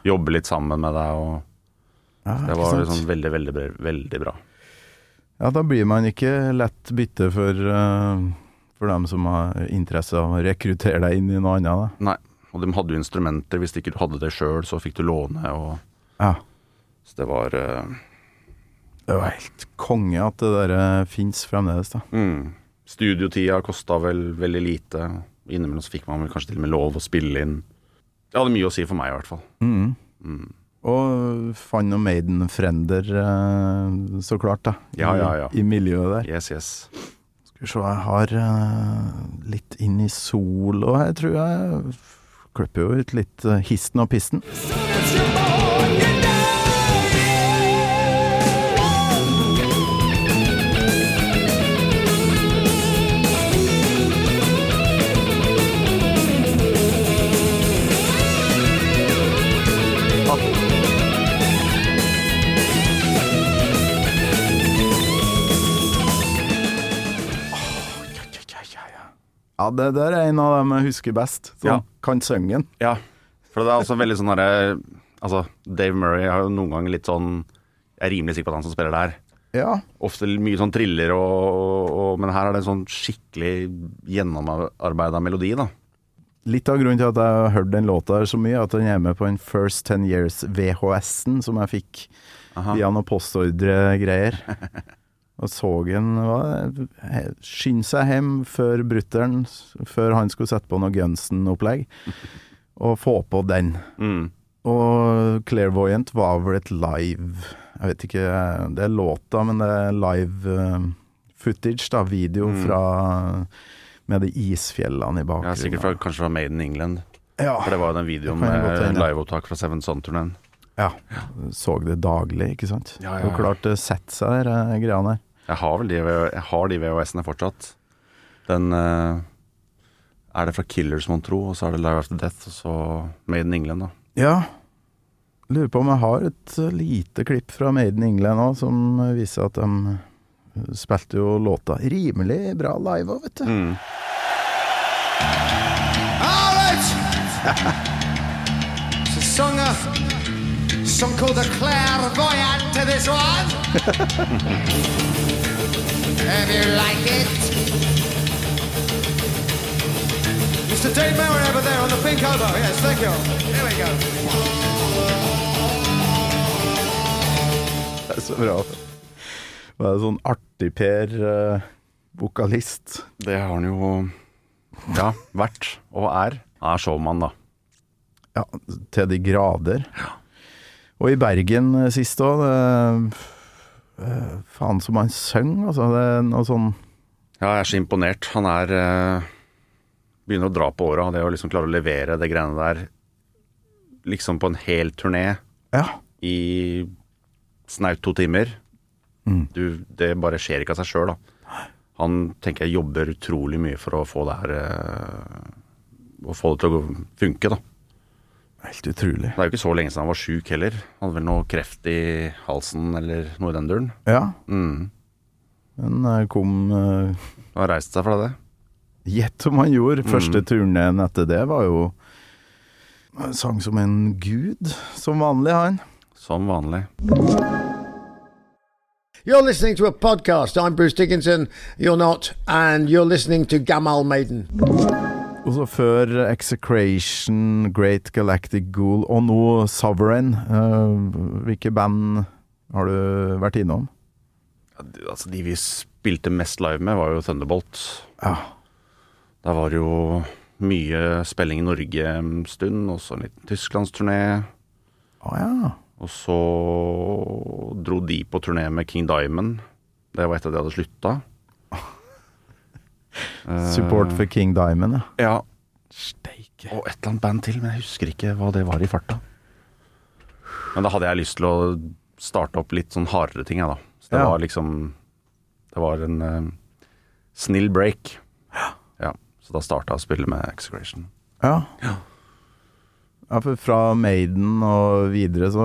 [SPEAKER 2] jobbe litt sammen med deg. og
[SPEAKER 3] Ja,
[SPEAKER 2] Det
[SPEAKER 3] ikke
[SPEAKER 2] var
[SPEAKER 3] sant?
[SPEAKER 2] liksom veldig, veldig, bra- veldig bra.
[SPEAKER 3] ja, da blir man ikke lett bytte for, eh, for dem som har interesse av å rekruttere deg inn i noe annet.
[SPEAKER 2] Nei, og de hadde jo instrumenter. Hvis ikke du hadde det sjøl, så fikk du låne. Og,
[SPEAKER 3] Da. Ja.
[SPEAKER 2] så det var eh,
[SPEAKER 3] Det var helt konge at det der fins fremdeles, da.
[SPEAKER 2] mm, Studiotida kosta vel veldig lite. Innimellom så fikk man vel kanskje til og med lov å spille inn. Det hadde mye å si for meg, i hvert fall.
[SPEAKER 3] Mhm.
[SPEAKER 2] Mm.
[SPEAKER 3] Og Fan og Maiden-frender, eh, så klart, da.
[SPEAKER 2] Ja, ja, ja.
[SPEAKER 3] I, I miljøet der.
[SPEAKER 2] Yes, yes.
[SPEAKER 3] Skal vi se, jeg har eh, litt inn i sol, og jeg tror jeg f- klipper jo ut litt eh, histen og pisten.
[SPEAKER 4] Soon as you're born, you know.
[SPEAKER 3] Ja, det der er en av dem jeg husker best, som
[SPEAKER 2] Ja.
[SPEAKER 3] kan synge den.
[SPEAKER 2] Ja, for det er også veldig sånn derre Altså, Dave Murray har jo noen ganger litt sånn Jeg er rimelig sikker på at han som spiller der.
[SPEAKER 3] Ja.
[SPEAKER 2] Ofte mye sånn triller og, og, og Men her er det en sånn skikkelig gjennomarbeida melodi, da.
[SPEAKER 3] Litt av grunnen til at jeg har hørt den låta her så mye, er at den er med på den First Ten Years VHS-en som jeg fikk
[SPEAKER 2] Aha.
[SPEAKER 3] via noen postordregreier. Og så den hva det- he- Skynd seg hjem før brutter'n, s- før han skulle sette på noe Gunsen-opplegg, og få på den.
[SPEAKER 2] Mm.
[SPEAKER 3] Og Clairvoyant var vel et live Jeg vet ikke, det er låta, men det er live eh, footage, da, video fra med de
[SPEAKER 2] Mm.
[SPEAKER 3] isfjellene i
[SPEAKER 2] Ja,
[SPEAKER 3] bakgrunnen.
[SPEAKER 2] sikkert fra, kanskje fra Made in England.
[SPEAKER 3] Ja.
[SPEAKER 2] For det var jo den videoen
[SPEAKER 3] Det kan jeg godt
[SPEAKER 2] med
[SPEAKER 3] hende.
[SPEAKER 2] liveopptak fra Seven Sun-turneen.
[SPEAKER 3] Ja. Så det daglig, ikke sant?
[SPEAKER 2] Ja, ja,
[SPEAKER 3] Det er jo
[SPEAKER 2] ja.
[SPEAKER 3] klart det setter seg der, eh, greiene der.
[SPEAKER 2] Jeg har vel de, jeg har de VHS-ene fortsatt. Den eh, er det fra Killers, mon tro, og så er det Live After Death, og så Made in England, da.
[SPEAKER 3] Ja. Lurer på om jeg har et eh, lite klipp fra Maiden England òg, som eh, viser at de eh, spilte jo låta rimelig bra live òg, vet du.
[SPEAKER 2] Mm.
[SPEAKER 4] All right. it's a song, uh, song called The Clairvoyant to this one. if you like it. Mr. Dave Mauer over there on the pink elbow. Yes, thank you. Here we go.
[SPEAKER 3] Det er så bra. Det er sånn artig Per, eh, vokalist.
[SPEAKER 2] Det har han jo ja, vært, og er. Han er showman, da.
[SPEAKER 3] Ja, til de grader. Og i Bergen eh, sist òg, faen som han synger, altså. Det er noe sånn
[SPEAKER 2] Ja, jeg er så imponert. Han er eh, Begynner å dra på åra. Det å liksom klare å levere det greiene der liksom på en hel turné
[SPEAKER 3] Ja.
[SPEAKER 2] i snaut to timer du, Det bare skjer ikke av seg sjøl, da. Han tenker jeg jobber utrolig mye for å få det her eh, Å få det til å gå- funke, da.
[SPEAKER 3] Helt utrolig.
[SPEAKER 2] Det er jo ikke så lenge siden han var sjuk heller. Han hadde vel noe kreft i halsen eller noe i den duren.
[SPEAKER 3] Ja,
[SPEAKER 2] Mm.
[SPEAKER 3] den eh, kom eh,
[SPEAKER 2] Han har reist seg fra det.
[SPEAKER 3] Gjett om han gjorde. Første turneen etter det var jo Han sang som en gud, som vanlig, han.
[SPEAKER 2] Som vanlig.
[SPEAKER 5] You're listening to a podcast. I'm Bruce Dickinson. You're not, and you're listening to Gamal Maiden.
[SPEAKER 3] Og så før Execration, Great Galactic Ghoul og nå Sovereign. eh, hvilke band har du vært innom?
[SPEAKER 2] Altså, de vi spilte mest live med, var jo Thunderbolt.
[SPEAKER 3] Ja.
[SPEAKER 2] Der var det jo mye spilling i Norge en stund, og så en liten Tysklandsturné.
[SPEAKER 3] Å ja.
[SPEAKER 2] Og så dro de på turné med King Diamond. Det var etter at de hadde slutta.
[SPEAKER 3] Support for King Diamond, ja.
[SPEAKER 2] Ja. Steike. Og et eller annet band til, men jeg husker ikke hva det var i farta. Men da hadde jeg lyst til å starte opp litt sånn hardere ting, jeg, da. Så det
[SPEAKER 3] Ja.
[SPEAKER 2] var liksom Det var en eh, snill break. Ja. Så da starta jeg å spille med Execration.
[SPEAKER 3] Ja. ja for fra Maiden og videre så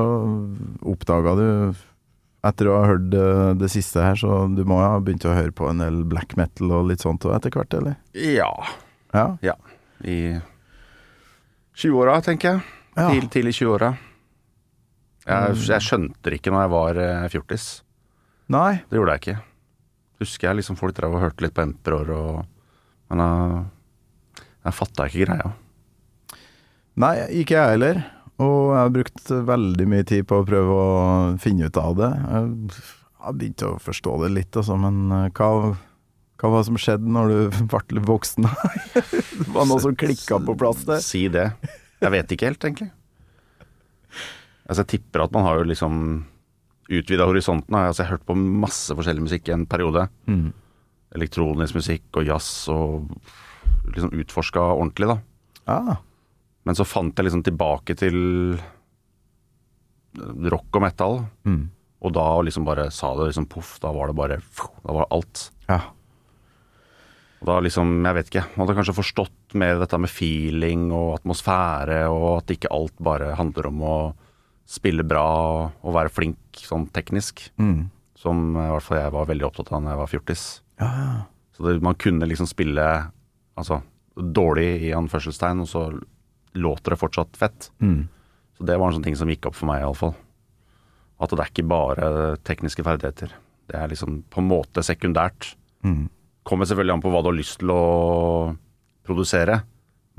[SPEAKER 3] oppdaga du Etter å ha hørt det, det siste her, så du må ha begynt å høre på en del black metal og litt sånt og etter hvert, eller?
[SPEAKER 2] Ja.
[SPEAKER 3] Ja.
[SPEAKER 2] ja. I 20-åra, tenker jeg.
[SPEAKER 3] Ja.
[SPEAKER 2] Tidlig, tidlig 20-åra. Jeg, jeg skjønte det ikke når jeg var eh, fjortis.
[SPEAKER 3] Nei.
[SPEAKER 2] Det gjorde jeg ikke. Husker jeg liksom folk drev og hørte litt på Emperor og Men jeg, jeg fatta ikke greia.
[SPEAKER 3] Nei, ikke jeg heller. Og jeg har brukt veldig mye tid på å prøve å finne ut av det. Jeg har begynt å forstå det litt, altså, men eh, hva, hva var det som skjedde når du ble litt voksen? det var noe som klikka på plass der.
[SPEAKER 2] Si det. Jeg vet ikke helt, egentlig. Altså, jeg tipper at man har jo liksom utvida horisonten. Altså, jeg har hørt på masse forskjellig musikk i en periode. Elektronisk musikk og jazz og liksom utforska ordentlig, da.
[SPEAKER 3] Ja.
[SPEAKER 2] Men så fant jeg liksom tilbake til rock og metal. Og da liksom bare sa det liksom poff, da var det bare Da var det alt.
[SPEAKER 3] ja.
[SPEAKER 2] Og da liksom, jeg vet ikke, man hadde kanskje forstått mer dette med feeling og atmosfære, og at ikke alt bare handler om å spille bra og være flink sånn teknisk.
[SPEAKER 3] Mm.
[SPEAKER 2] Som eh, i hvert fall jeg var veldig opptatt av da jeg var fjortis. Så det, man kunne liksom spille altså, dårlig i anførselstegn, og så låter det fortsatt fett. Så det var en sånn ting som gikk opp for meg, iallfall. At det er ikke bare tekniske ferdigheter. Det er liksom på en måte sekundært kommer selvfølgelig an på hva du har lyst til å produsere.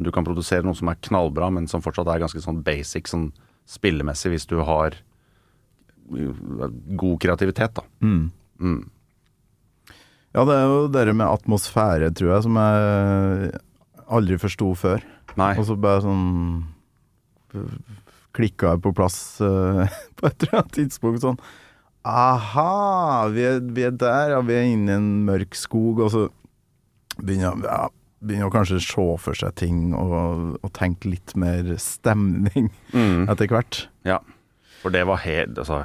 [SPEAKER 2] Du kan produsere noe som er knallbra, men som fortsatt er ganske sånn basic sånn spillemessig, hvis du har uh, god kreativitet, da.
[SPEAKER 3] ja, det er jo det med atmosfære, tror jeg, som jeg aldri forsto før.
[SPEAKER 2] Nei.
[SPEAKER 3] Og så bare sånn Klikka jeg på plass eh, på et eller annet tidspunkt sånn Aha, vi er, vi er der, ja, vi er inne i en mørk skog, og så begynner jeg ja, Begynner å kanskje se for seg ting og, og tenke litt mer stemning etter hvert.
[SPEAKER 2] Ja. For det var helt altså,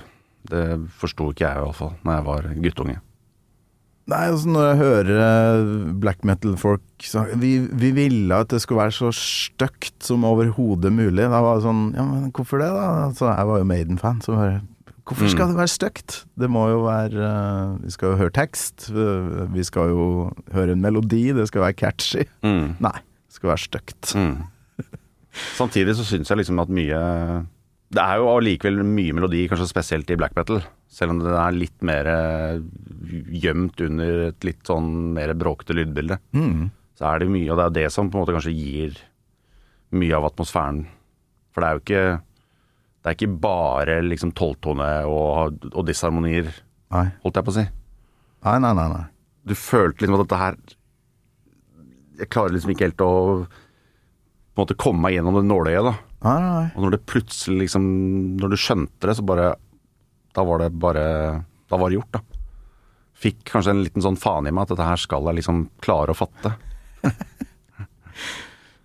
[SPEAKER 2] Det forsto ikke jeg, i hvert fall, når jeg var guttunge.
[SPEAKER 3] Nei, altså når jeg hører eh, black metal-folk snakke vi, vi ville at det skulle være så stygt som overhodet mulig. Da var det sånn Ja, men hvorfor det, da? Altså, jeg var jo Maiden-fan, så bare Hvorfor skal det være stygt? Det må jo være eh, Vi skal jo høre tekst. eh, Vi skal jo høre en melodi. Det skal være catchy. Nei. Det skal være stygt.
[SPEAKER 2] Samtidig så syns jeg liksom at mye Det er jo allikevel mye melodi, kanskje spesielt i black metal. Selv om det er litt mer eh, gjemt under et litt sånn mer bråkete lydbilde. Så er det mye, og det er det som på en måte kanskje gir mye av atmosfæren. For det er jo ikke Det er ikke bare liksom tolvtone og, og disharmonier,
[SPEAKER 3] Nei.
[SPEAKER 2] holdt jeg på å si.
[SPEAKER 3] Nei, nei, nei. nei.
[SPEAKER 2] Du følte liksom at dette her Jeg klarer liksom ikke helt å på en måte komme meg gjennom det nåløyet, da.
[SPEAKER 3] nei, nei, nei.
[SPEAKER 2] Og når det plutselig liksom Når du skjønte det, så bare Da var det bare Da var det gjort, da. Fikk kanskje en liten sånn faen i meg at dette her skal jeg liksom klare å fatte.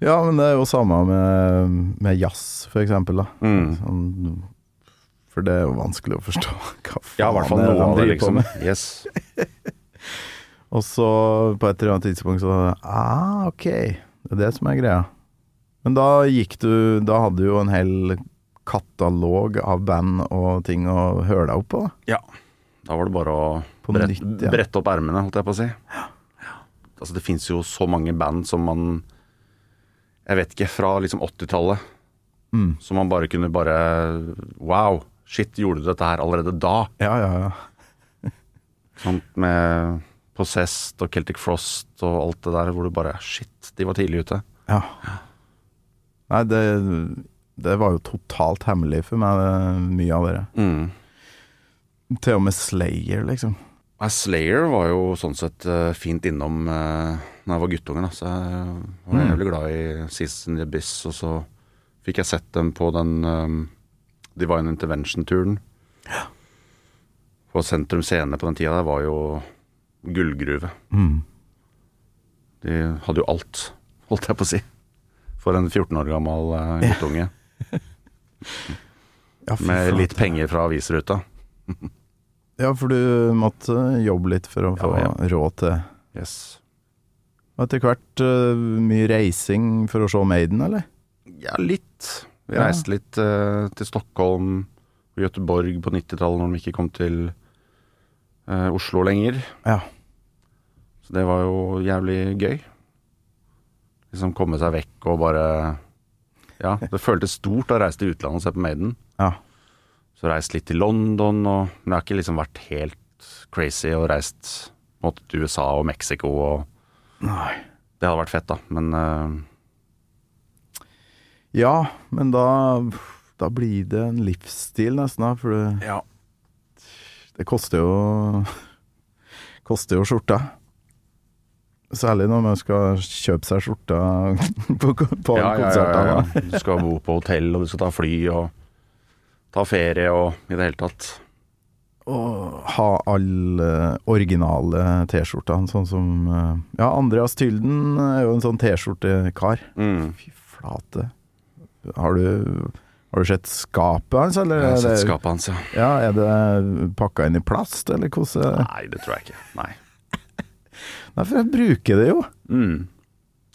[SPEAKER 3] Ja, men det er jo samme med, med jazz, for eksempel. Da.
[SPEAKER 2] Mm.
[SPEAKER 3] Sånn, for det er jo vanskelig å forstå hva faen
[SPEAKER 2] Ja, i hvert fall
[SPEAKER 3] det er
[SPEAKER 2] noe
[SPEAKER 3] de
[SPEAKER 2] av det,
[SPEAKER 3] driver på
[SPEAKER 2] liksom.
[SPEAKER 3] med.
[SPEAKER 2] Yes.
[SPEAKER 3] Og så på et eller annet tidspunkt så Ah, ok. Det er det som er greia. Men da gikk du Da hadde du jo en hel katalog av band og ting å høre deg opp på. da.
[SPEAKER 2] Ja. Da var det bare å
[SPEAKER 3] På
[SPEAKER 2] brett,
[SPEAKER 3] nytt, ja.
[SPEAKER 2] brette opp ermene, holdt jeg på å si. Altså, det fins jo så mange band som man Jeg vet ikke, fra liksom 80-tallet.
[SPEAKER 3] Mm.
[SPEAKER 2] Som man bare kunne bare Wow! Shit, gjorde du dette her allerede da?
[SPEAKER 3] Ja, ja, ja.
[SPEAKER 2] Sant? Med Possessed og Celtic Frost og alt det der hvor du bare Shit, de var tidlig ute.
[SPEAKER 3] Ja. Nei, det, det var jo totalt hemmelig for meg, det- mye av dere.
[SPEAKER 2] Mm.
[SPEAKER 3] Til og med Slayer, liksom.
[SPEAKER 2] Nei, Slayer var jo sånn sett eh, fint innom uh, Når jeg var guttungen. Da. Så jeg var
[SPEAKER 3] Mm.
[SPEAKER 2] jævlig glad i Season in the Abyss. Og så fikk jeg sett dem på den eh, Divine Intervention-turen. På Sentrum Scene på den tida der var jo gullgruve. De hadde jo alt, holdt jeg på å si. For en 14 år gammel eh, guttunge.
[SPEAKER 3] Ja, fy
[SPEAKER 2] Med
[SPEAKER 3] flate.
[SPEAKER 2] litt penger fra avisruta.
[SPEAKER 3] Ja, for du måtte jobbe litt for å få
[SPEAKER 2] Ja,
[SPEAKER 3] råd til
[SPEAKER 2] Yes.
[SPEAKER 3] Og Etter hvert eh, mye reising for å se Maiden, eller?
[SPEAKER 2] Ja, litt. Vi
[SPEAKER 3] Ja.
[SPEAKER 2] reiste litt eh, til Stockholm og Göteborg på 90-tallet når de ikke kom til eh, Oslo lenger.
[SPEAKER 3] Ja.
[SPEAKER 2] Så det var jo jævlig gøy. Liksom komme seg vekk og bare Ja, det føltes stort å reise til utlandet og se på Maiden.
[SPEAKER 3] Ja.
[SPEAKER 2] Så reist litt til London og Men jeg har ikke liksom vært helt crazy og reist på en måte til USA og Mexico og
[SPEAKER 3] Nei.
[SPEAKER 2] Det hadde vært fett, da. Men eh,
[SPEAKER 3] Ja, men da, da blir det en livsstil nesten, da, for det,
[SPEAKER 2] Ja.
[SPEAKER 3] det koster jo Koster jo skjorta. Særlig når man skal kjøpe seg skjorta på, ko- på
[SPEAKER 2] Ja, ja, ja,
[SPEAKER 3] konsertene.
[SPEAKER 2] ja, ja. Du skal bo på hotell, og du skal ta fly og ta ferie og i det hele tatt.
[SPEAKER 3] Og ha alle originale T-skjortene, sånn som eh, Ja, Andreas Tylden er jo en sånn T-skjortekar.
[SPEAKER 2] Mm.
[SPEAKER 3] Fy flate. Har du, har du sett skapet hans, eller?
[SPEAKER 2] Jeg har sett
[SPEAKER 3] er det-
[SPEAKER 2] skapet hans, ja.
[SPEAKER 3] Ja, er det pakka inn i plast, eller hvordan
[SPEAKER 2] Nei, det tror jeg ikke. Nei.
[SPEAKER 3] Nei, for jeg bruker det jo.
[SPEAKER 2] Mm.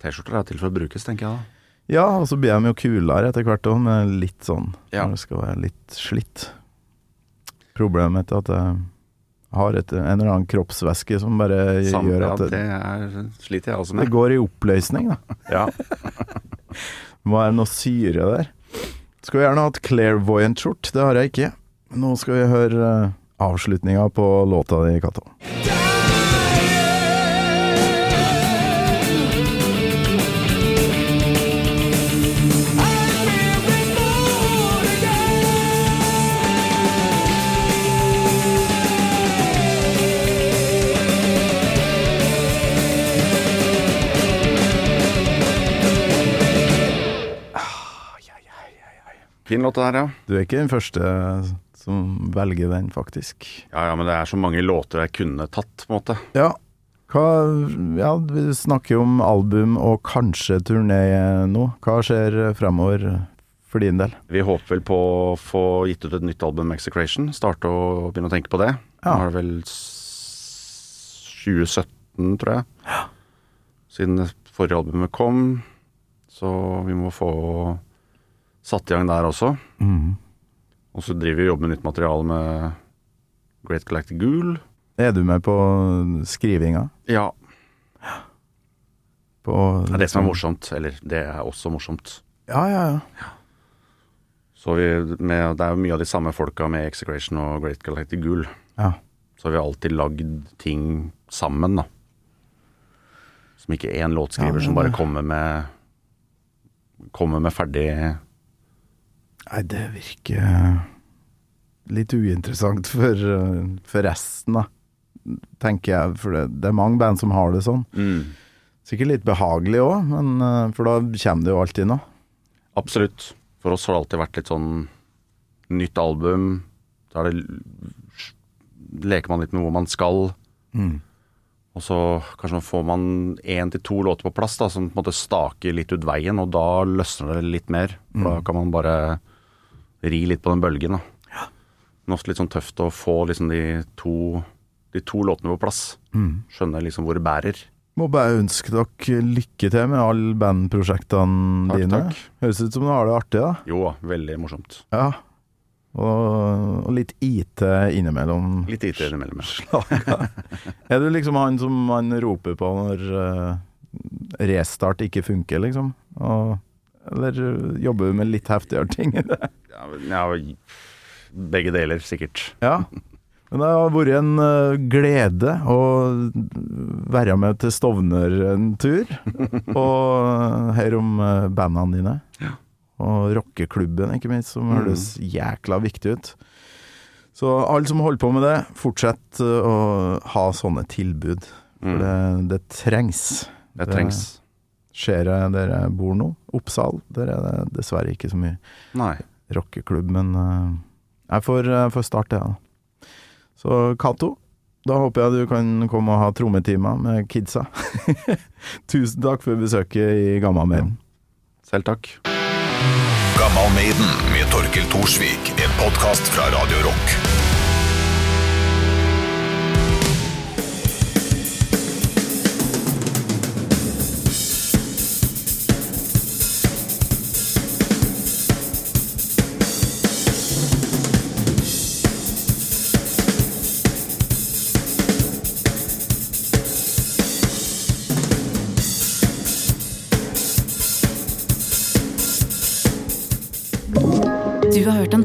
[SPEAKER 2] T-skjorter er til for å brukes, tenker jeg da.
[SPEAKER 3] Ja, og så blir de jo kulere etter hvert òg, men litt sånn
[SPEAKER 2] Ja.
[SPEAKER 3] Når det skal være litt slitt. Problemet er at jeg har et, en eller annen kroppsvæske som bare
[SPEAKER 2] Samme,
[SPEAKER 3] gjør
[SPEAKER 2] ja,
[SPEAKER 3] at det,
[SPEAKER 2] det er, sliter jeg også
[SPEAKER 3] det
[SPEAKER 2] med.
[SPEAKER 3] går i oppløsning, da.
[SPEAKER 2] Ja.
[SPEAKER 3] Må være noe syre der. Skulle gjerne hatt clairvoyant-skjort, det har jeg ikke. Nå skal vi høre eh, avslutninga på låta di, Cato.
[SPEAKER 2] Fin låt det her, ja.
[SPEAKER 3] Du er ikke den første eh, som velger den, faktisk.
[SPEAKER 2] ja. Ja, men det er så mange låter jeg kunne tatt, på en måte.
[SPEAKER 3] Ja. Hva, ja, vi snakker jo om album og kanskje turné nå. Hva skjer eh, fremover for din del?
[SPEAKER 2] Vi håper vel på å få gitt ut et nytt album, Execration. Starte å begynne å tenke på det.
[SPEAKER 3] Ja.
[SPEAKER 2] Nå er det vel s- 2017, tror jeg. Siden det forrige albumet kom. Så vi må få satt i gang der også. Mhm. Og så driver vi og jobber med nytt materiale med Great Galactic Ghoul.
[SPEAKER 3] Er du med på skrivinga?
[SPEAKER 2] Ja,
[SPEAKER 3] På,
[SPEAKER 2] det er det som er morsomt. Eller det er også morsomt.
[SPEAKER 3] Ja, ja, ja.
[SPEAKER 2] Så vi, med, det er jo mye av de samme folka med Execration og Great Galactic Ghoul.
[SPEAKER 3] ja.
[SPEAKER 2] Så har vi alltid lagd ting sammen, da. Som ikke én låtskriver
[SPEAKER 3] Ja, men
[SPEAKER 2] som bare
[SPEAKER 3] det-
[SPEAKER 2] kommer med Kommer med ferdig
[SPEAKER 3] Nei, det virker eh, litt uinteressant for, eh, for resten, da. Tenker jeg, for det, det er mange band som har det sånn.
[SPEAKER 2] Mm.
[SPEAKER 3] Sikkert litt behagelig òg, for da kommer det jo alltid noe.
[SPEAKER 2] Absolutt. For oss har det alltid vært litt sånn nytt album. Da er det leker man litt med hvor man skal. Og så kanskje man får man én til to låter på plass da, som på en måte staker litt ut veien, og da løsner det litt mer. For da kan man bare ri litt på den bølgen. Da. Men ofte litt sånn tøft å få liksom de to, de to låtene på plass. Skjønne liksom hvor det bærer.
[SPEAKER 3] Må bare ønske dere lykke til med alle bandprosjektene
[SPEAKER 2] Takk,
[SPEAKER 3] dine.
[SPEAKER 2] takk.
[SPEAKER 3] Høres ut som du har det artig, da.
[SPEAKER 2] Jo da, veldig morsomt.
[SPEAKER 3] Ja. Og, og litt IT innimellom.
[SPEAKER 2] Litt IT innimellom. ja.
[SPEAKER 3] Er du liksom han som man roper på når eh, restart ikke funker, liksom? Og, eller eh, jobber du med litt heftigere ting?
[SPEAKER 2] Ja, men- ja, begge deler, sikkert.
[SPEAKER 3] ja. Men det har vært en eh, glede å være med til Stovner en tur, og høre om eh, bandene dine. Og rockeklubben, ikke minst, som
[SPEAKER 2] Mm.
[SPEAKER 3] høres jækla viktig ut. Så alle som holder på med det, fortsett eh, å ha sånne tilbud. For det, det trengs.
[SPEAKER 2] Mm. Det trengs.
[SPEAKER 3] Ser jeg dere bor nå, Oppsal, der er det dessverre ikke så mye
[SPEAKER 2] Nei.
[SPEAKER 3] rockeklubb, men eh, jeg får, jeg får starte, jeg, da. Så Cato, da håper jeg du kan komme og ha trommetimer med kidsa. Tusen takk for besøket i Gammalmeiren.
[SPEAKER 2] Selv takk.
[SPEAKER 6] Gammal Maiden med Torkel Thorsvik. En podkast fra Radio Rock.
[SPEAKER 1] Du har hørt en